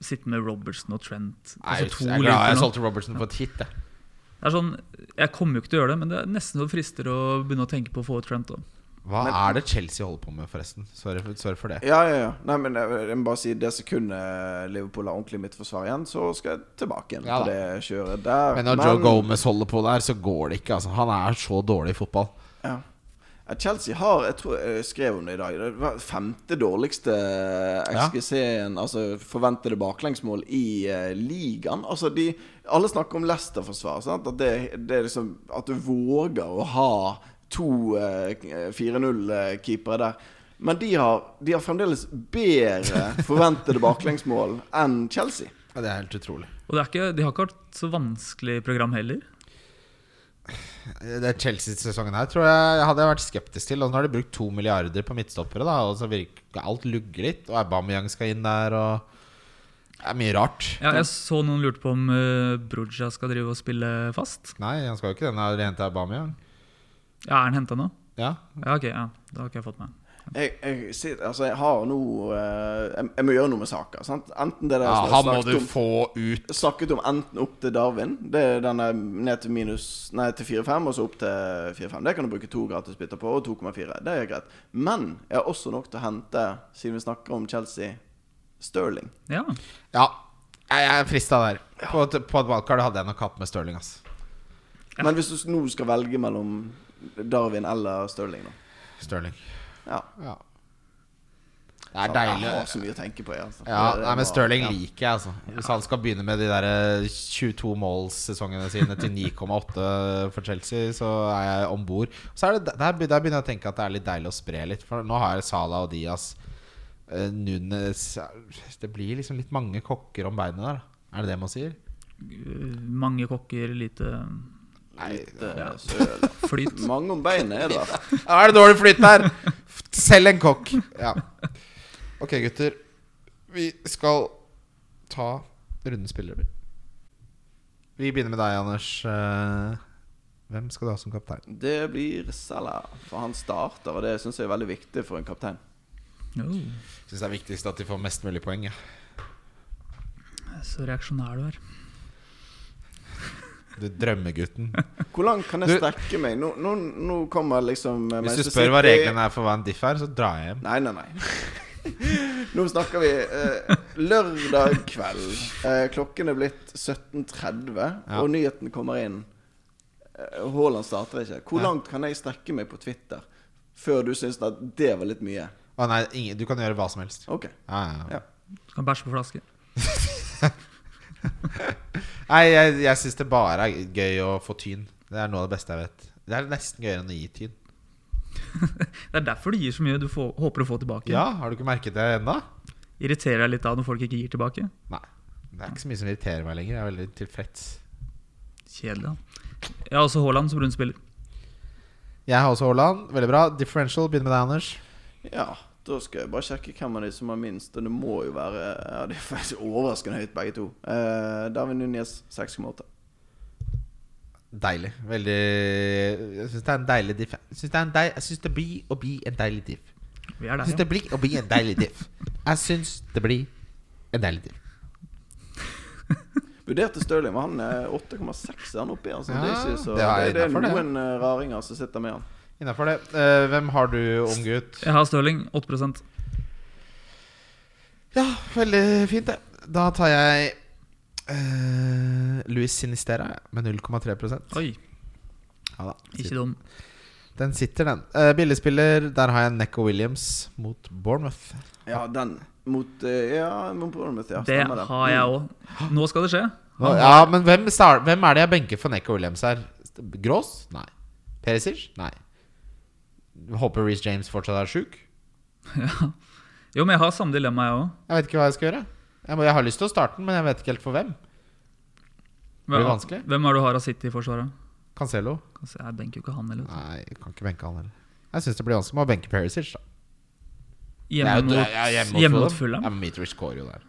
sitte med Robertson og Trent. Nei, Altså to jeg er glad jeg Liverpool nå. solgte Robertson på et hit. Jeg. Det er sånn, jeg kommer jo ikke til å gjøre det, men det er nesten så det frister å begynne å tenke på å få ut Trent. Da. Hva er det Chelsea holder på med, forresten? Sorry for, sorry for det. Ja, ja, ja. Nei, men jeg, jeg må bare si det sekundet Liverpool har ordentlig midtforsvar igjen, så skal jeg tilbake igjen Ja på da. det kjøret der. Men når Joe Gomez holder på der, så går det ikke. Altså. Han er så dårlig i fotball. Ja. Ja, Chelsea har Jeg tror jeg skrev om det i dag. Det var femte dårligste eh, XGC-en, altså forventede baklengsmål, i eh, ligaen. Altså de Alle snakker om Leicester-forsvar. sant? At, det, det er liksom, at du våger å ha to eh, 4-0-keepere der. Men de har, de har fremdeles bedre forventede baklengsmål enn Chelsea. Ja, det er helt utrolig. Og det er ikke, de har ikke hatt så vanskelig program heller. Det Chelsea-sesongen her tror jeg hadde jeg vært skeptisk til. Og nå har de brukt to milliarder på midtstoppere, da, og så virker alt lugger litt. Og Aubameyang skal inn der, og Det er mye rart. Ja, jeg så noen lurte på om uh, Bruja skal drive og spille fast. Nei, han skal jo ikke det. Han har hentet Aubameyang. Ja, Er han henta nå? Ja. Ja, ok, ja. Det har ikke jeg fått med Jeg, jeg, sitter, altså, jeg har nå eh, jeg, jeg må gjøre noe med saka. Sant? Enten det der Ja, som jeg han må snakket du om- få ut. snakket om enten opp til Darwin, det er den der ned til minus Nei, til 4-5, og så opp til 4-5. Det kan du bruke to gratisbytter på, og 2,4. Det er greit. Men jeg har også nok til å hente, siden vi snakker om Chelsea, Sterling. Ja. Ja, jeg jeg er frista der. På, et- på et wildcard hadde jeg nok hatt med Stirling. Ass. Men hvis du nå skal velge mellom Darwin eller Sterling, da. Stirling. Ja. Ja. Det er Jeg har deilig. så mye å tenke på. Jeg, altså. Ja, Det- det nei, men var- Stirling ja. liker jeg, altså. Hvis han skal begynne med de der eh, 22 målsesongene sine til 9,8 for Chelsea, så er jeg om bord. Så er det, der, be- der begynner jeg å tenke at det er litt deilig å spre litt. For nå har jeg Salah og Diaz. Eh, Nunes er- Det blir liksom litt mange kokker om beinet der. Er det det man sier? Uh, Mange kokker, lite Litt, eh, søl. flyt. Mange om beinet er det. altså. Ja, Er det dårlig flytt der? F- Selv en kokk. Ja. Ok, gutter. Vi skal ta rundespillere. Vi begynner med deg, Anders. Eh, Hvem skal du ha som kaptein? Det blir Salah, for han starter, og det syns jeg er veldig viktig for en kaptein. Oh, Syns det er viktigst at de får mest mulig poeng. Ja. så reaksjonær du er. Du drømmegutten. Hvor langt kan jeg Du- strekke meg? Nå, nå, nå kommer liksom eh, Hvis du Manchester spør hva City- reglene er for hva en diff er, så drar jeg hjem. Nei, nei, nei. Nå snakker vi eh, lørdag kveld. Eh, klokken er blitt 17.30, Ja. og nyheten kommer inn. Eh, Haaland starter ikke. Hvor langt kan jeg strekke meg på Twitter før du syns at det var litt mye? Å nei, ingen, Du kan gjøre hva som helst. Ok. Ja, ja, ja. Ja. Du kan bæsje på flaske. Nei, jeg, jeg syns det bare er gøy å få tyn. Det er noe av det beste jeg vet. Det er nesten gøyere enn å gi tyn. Det er derfor du gir så mye du får, håper å få tilbake. Ja, Har du ikke merket det ennå? Irriterer deg litt da når folk ikke gir tilbake? Nei. Det er ikke så mye som irriterer meg lenger. Jeg er veldig tilfreds. Kjedelig, da. Jeg har også Haaland som rundspiller. Jeg har også Haaland. Veldig bra. Differential. Begynner med deg, Anders. Ja, da skal jeg bare sjekke hvem av de som har minst. Og det må jo være ja, Det er faktisk overraskende høyt, begge to. Eh, David Nunes 6,8. Deilig. Veldig Jeg syns det er en deilig diff. Jeg syns det, er en deil... jeg synes det blir å bli en deilig diff. Vi er Jeg der, syns ja. det blir å bli en deilig diff. Jeg syns det blir en deilig diff. Vurderte Stirling, men han eh, er 8,6 er han oppi. Altså. det er Ja, ikke så det Det er er, det er innenfor det. noen eh, raringer som sitter med han. Innafor det. Eh, hvem har du, ung gutt? Jeg har Stirling, 8 Ja, veldig fint, det. Da tar jeg uh, Louis Sinistera jeg, med 0,3 Oi, Ja da. ikke dum. Den sitter, den. Eh, billigspiller, der har jeg Necco Williams mot Bournemouth. Ja, den mot eh, Ja, mot Bournemouth, ja. Det Stemmer det. har jeg òg. Nå skal det skje. Nå, ja, men hvem, star- hvem er det jeg benker for Necco Williams her? Gross? Nei. Perisic? Nei. Håper Reece James fortsatt er sjuk? Jo, men jeg har samme dilemma, jeg òg. Jeg vet ikke hva jeg skal gjøre. Jeg, må, jeg har lyst til å starte den, men jeg vet ikke helt for hvem. Blir det vanskelig? Hvem er det du har av City i forsvaret? Cancelo? Kan se, Jeg benker jo ikke han, eller. vet Nei, jeg kan ikke benke han heller. Jeg syns det blir vanskelig med å benke Perisic, da. du. Det Hjemme er jo- mot, ja, hjemme mot Fulham. Ja, men Mitrovic scorer jo der.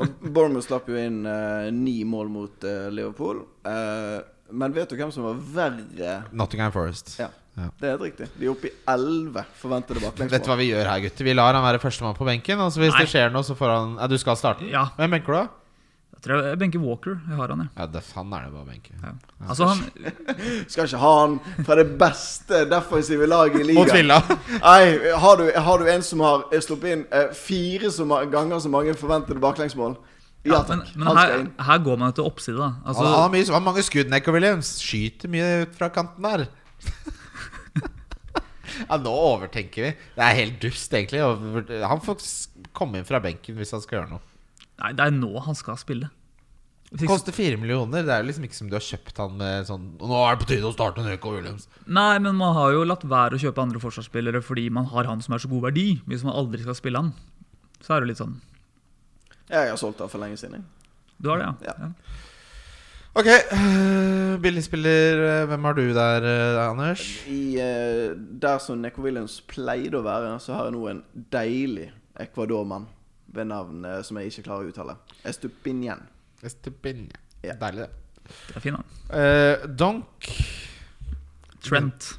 Og Bournemouth slapp jo inn eh, ni mål mot eh, Liverpool. Eh, men vet du hvem som var verre? Nottingham Forest. Ja, Ja. det er helt riktig. De er oppe i 11 forventede Vet du hva baklengsmål. vi gjør her, gutter? Vi lar han være førstemann på benken. Og så hvis Nei. det skjer noe, så får han Ja, du skal starte? den? Ja. Hvem benker du, da? Jeg tror jeg, jeg benker Walker. Jeg har han, jeg. Ja, det, han er det bare å benke. Ja. Altså, han, Skal ikke ha han fra det beste defensive laget i Mot ligaen. Villa. Nei, har du, har du en som har eh, sluppet inn eh, fire så ma- ganger så mange forventede baklengsmål? Ja men takk. men Han her, skal inn. her går man etter oppside, da. Altså, han, han, har mye, han har mange skudd, Neco Williams. Skyter mye ut fra kanten der. ja, nå overtenker vi. Det er helt dust, egentlig. å- Han får s- komme inn fra benken hvis han skal gjøre noe. Nei, det er nå han skal spille. Hvis ikke, Koster fire millioner. Det er jo liksom ikke som du har kjøpt han med sånn Nå er det på tide å starte Neco Williams. nei, men man har jo latt være å kjøpe andre forsvarsspillere fordi man har han som er så god verdi. Hvis man aldri skal spille han, så er det litt sånn. Jeg har solgt han for lenge siden. jeg. Du har det, ja? Ja. Ok, øh, billigspiller. øh, Hvem har du der, øh, Anders? I, eh, der som Neco Williams pleide å være, så har jeg nå en deilig Ecuador-mann ved navn eh, som jeg ikke klarer å uttale. Estupinian. Estepinja. Ja. Deilig, det. Det er fin, da. Eh, donk. Trent.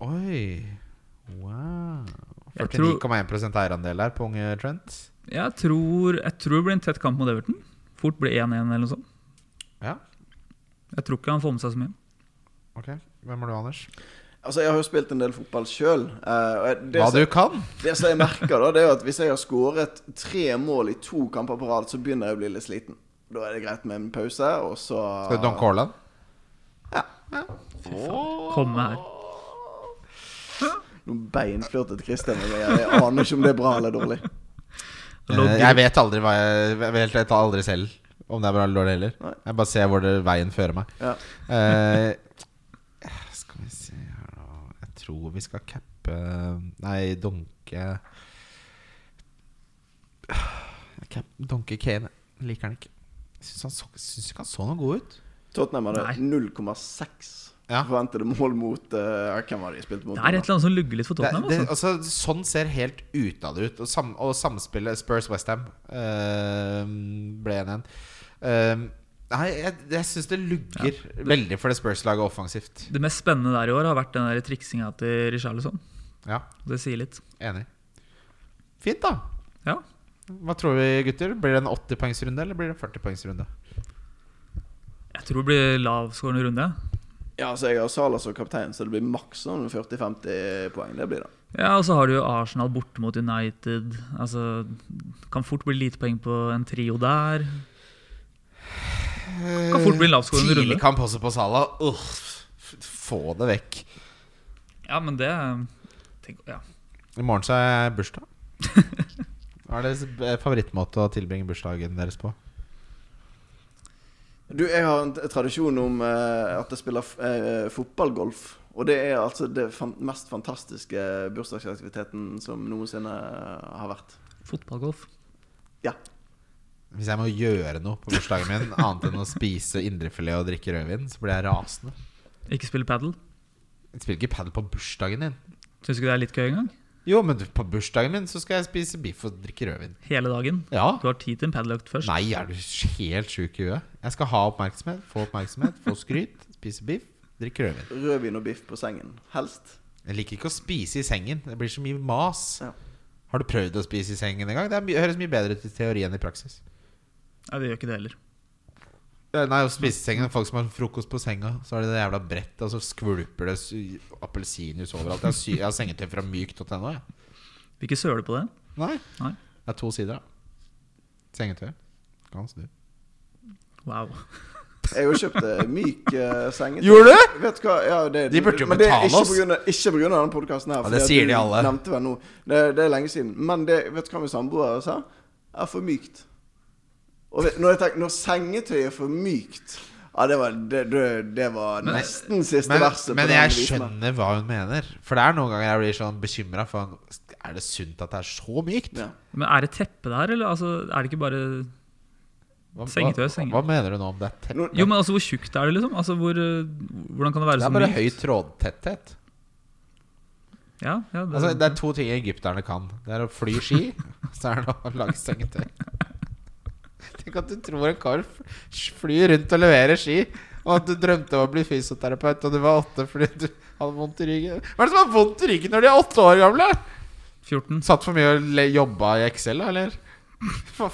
Oi. Wow. Jeg tror, 49,1 eierandel her på unge Trent. jeg, tror, jeg tror det blir en tett kamp mot Everton. Fort blir 1-1 eller noe sånt. Ja, Jeg tror ikke han får med seg så mye. ok. Hvem er du, Anders? Altså, jeg har jo spilt en del fotball sjøl. det, Hva som- du kan? det som jeg merker, da, det er jo at hvis jeg har skåret tre mål i to kamper på rad, så begynner jeg å bli litt sliten. Da er det greit med en pause, og så Skal du donke Haaland? Komme her. Nå beinflørtet Christian med meg. Jeg- Jeg aner ikke om det er bra eller dårlig. Eh, Jeg vet aldri hva jeg Jeg vet helt aldri selv om det er bra eller dårlig heller. Nei. Jeg bare ser hvor det, veien fører meg. Ja. Eh, skal vi se her nå Jeg tror vi skal cappe Nei, donke Jeg cap- Donke Kane. Jeg Liker han ikke. Jeg Syns han så- syns ikke han så noe god ut. Tottenham hadde Nei. 0,6 Ja. forventede mål mot eh, Hvem var det de spilte mot? Det er et eller annet som lugger litt for Det, Tottenham. det, Altså. altså, sånn ser helt utad ut. Og, sam, og samspillet Spurs-Westham ble 1-1. Ehm, nei, jeg, jeg syns det lugger veldig for det Spurs-laget offensivt. Det mest spennende der i år har vært den der triksinga til Richarlison. Ja, Det sier litt. enig. Fint, da. Ja. Hva tror vi, gutter? Blir det en 80-poengsrunde eller blir det en 40-poengsrunde? Jeg tror det blir lavskårende runde. Ja, altså Jeg har Salah som kaptein, så det blir maks sånn 40-50 poeng. Det blir det. Ja, og så har du jo Arsenal borte mot United. Altså, kan fort bli lite poeng på en trio der. Kan fort bli en lavskårende Tidlig runde. kamp Eh, også på Salah. Uff, f- få det vekk. Ja, men det tenk, ja. I morgen så er bursdag. Hva er deres eh, favorittmåte å tilbringe bursdagen deres på? Du, Jeg har en t- tradisjon om eh, at jeg spiller f- eh, fotballgolf. Og det er altså det fan mest fantastiske bursdagsaktiviteten som noensinne har vært. Fotballgolf. Ja. Hvis jeg må gjøre noe på bursdagen min annet enn å spise indrefilet og drikke rødvin, så blir jeg rasende. Ikke spille padel. Jeg spiller ikke padel på bursdagen din. Syns ikke det er litt gøy engang? Jo, men du, på bursdagen min så skal jeg spise biff og drikke rødvin. Hele dagen. Ja. Du har tid til en padeløkt først. Nei, er du helt sjuk i huet? Jeg skal ha oppmerksomhet, få oppmerksomhet, få skryt, spise biff, drikke rødvin. Rødvin og biff på sengen. Helst. Jeg liker ikke å spise i sengen. Det blir så mye mas. Ja. Har du prøvd å spise i sengen en gang? Det er mye- høres mye bedre ut i teori enn i praksis. Nei, det gjør ikke det heller. Eh, Nei, å spise i sengen Folk som har frokost på senga, så har de det jævla brettet, og så skvulper det sy- appelsinjuice overalt. Jeg har, sy jeg har sengetøy fra mykt.no, jeg. Vil ikke søle på det. Nei. Nei. Det er to sider, da. Sengetøy. Kan snu. Wow. Jeg har jo kjøpt eh, myk eh, seng. Gjorde du? Vet du hva? Ja, det, De burde jo men det er betale ikke oss. på grunn av- Ikke pga. denne podkasten her. Ja, for det at sier du de alle. Nevnte vel noe. Det, det er lenge siden. Men det, vet du hva min samboer sa? Er for mykt. Og vet, når, jeg tenker, når sengetøy er for mykt Ja, det var, det, det, det var nesten siste Men, verset. på men den jeg visen her. skjønner hva hun mener. For det er noen ganger jeg blir sånn bekymra for Er det sunt at det er så mykt? Ja. Men er det teppe der, eller altså, er det ikke bare Hva, Sengetøy, hva- senge. hva mener du nå om det er tett? Nå- Jo, men altså, hvor tjukt er det, liksom? Altså, hvor, eh, hvordan kan det være Det så er bare mykt? høy trådtetthet. Ja, ja, det, Altså, det er to ting egypterne kan. Det er å fly ski, så er det å lage sengetøy. Tenk at du tror en kar f- flyr rundt og leverer ski, og at du drømte om å bli fysioterapeut, og du var åtte fordi du hadde vondt i ryggen. Hva er det som har vondt i ryggen når de er åtte år gamle? 14. Satt for mye og le- jobba i Excel, da, eller? Hva,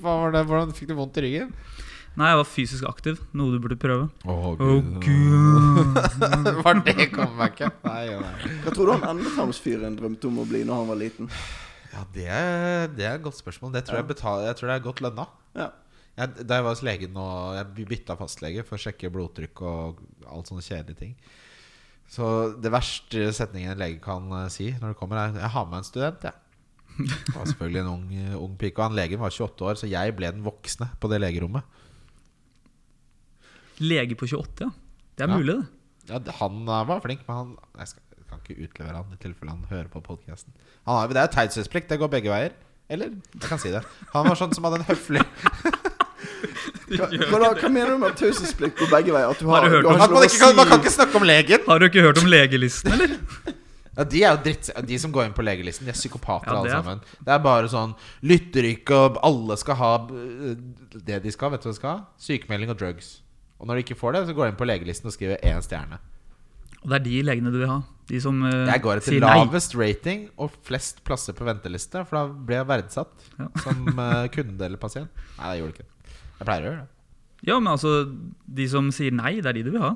hva var det? Hvordan fikk du vondt i ryggen? Nei, jeg var fysisk aktiv. Noe du burde prøve. Å, Å, gud. Var det comebacket? Nei, jo, nei. Hva tror du han endetarmsfyren drømte om å bli når han var liten? Ja, det er, det er et godt spørsmål. Det tror jeg, betal, jeg tror det er godt lønna. Ja. Jeg, da jeg var hos legen og Jeg bytta fastlege for å sjekke blodtrykk og alt sånne kjedelige ting. Så det verste setningen en lege kan eh, si når det kommer, er 'Jeg har med en student', jeg. Det var selvfølgelig en ung, eh, ung pike. Og han legen var 28 år, så jeg ble den voksne på det legerommet. Lege på 28, ja. Det er Ja. mulig, det. Ja, det- han eh, var flink, men han Jeg skal, jeg kan ikke utlevere han i tilfelle han hører på podkasten. Det er jo taushetsplikt. Det går begge veier. Eller? Jeg kan si det. Han var sånn som hadde en høflig Hva, hva, da, hva mener du med taushetsplikt på begge veier? At du Har har, du hørt du om- har At ikke man, lov å ikke kan, man kan si ikke snakke om legen! Har du ikke hørt om legelisten, eller? Ja, De er jo dritt De som går inn på legelisten, de er psykopater Ja, det alle er- sammen. Det er bare sånn Lytter ikke, og alle skal ha øh, det de skal. Vet du hva de skal ha? Sykemelding og drugs. Og når de ikke får det, så går de inn på legelisten og skriver én stjerne. Og det er de legene du vil ha. De som eh, Jeg går etter sier nei. lavest rating og flest plasser på venteliste, for da blir jeg verdsatt Ja. som eh, kunde eller pasient. Nei, jeg gjorde ikke det. Jeg pleier å gjøre det. Ja, men altså, de som sier nei, det er de du vil ha.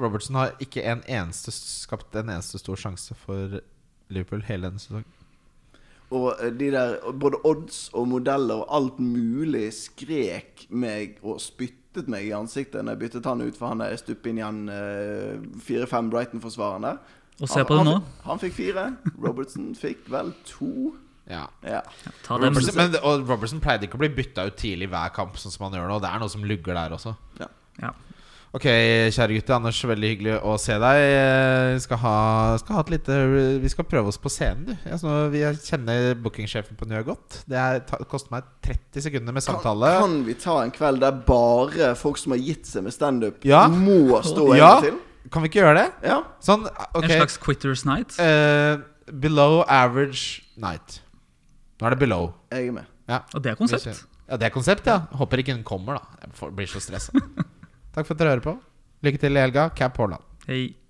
Robertson har ikke en eneste, skapt en eneste stor sjanse for Liverpool hele denne sesongen. Og eh, de der, og både odds og modeller og alt mulig skrek meg og spyttet meg i ansiktet når jeg byttet han ut, for han er stupp inn igjen eh, fire-fem Brighton-forsvarende. Og se på det han, nå. Han, han fikk fire. Robertson fikk vel to. Ja. Ja. Ja, ta dem. Robertson, men, og Robertson pleide ikke å bli bytta ut tidlig i hver kamp, sånn som han gjør nå. Det er noe som lugger der også. Ja. Ok, kjære gutter. Anders, veldig hyggelig å se deg. Eh, Vi skal ha, skal ha et lite Vi skal prøve oss på scenen, du. Jeg, så, vi kjenner bookingsjefen på Njø godt. Det er, ta, koster meg 30 sekunder med Kan, samtale. kan vi ta en kveld der bare folk som har gitt seg med standup, Ja. må stå en ja? gang til? Kan vi ikke gjøre det? Ja. Sånn, ok. En slags Quitters Night. Eh, below average night. Nå er det below. Jeg er med. Ja. Og det er konsept. Ja, det er konsept, ja. Håper ikke hun kommer, da. Jeg får, blir så stressa. Takk for at dere hører på. Lykke til i helga. Cap Haaland. Hei.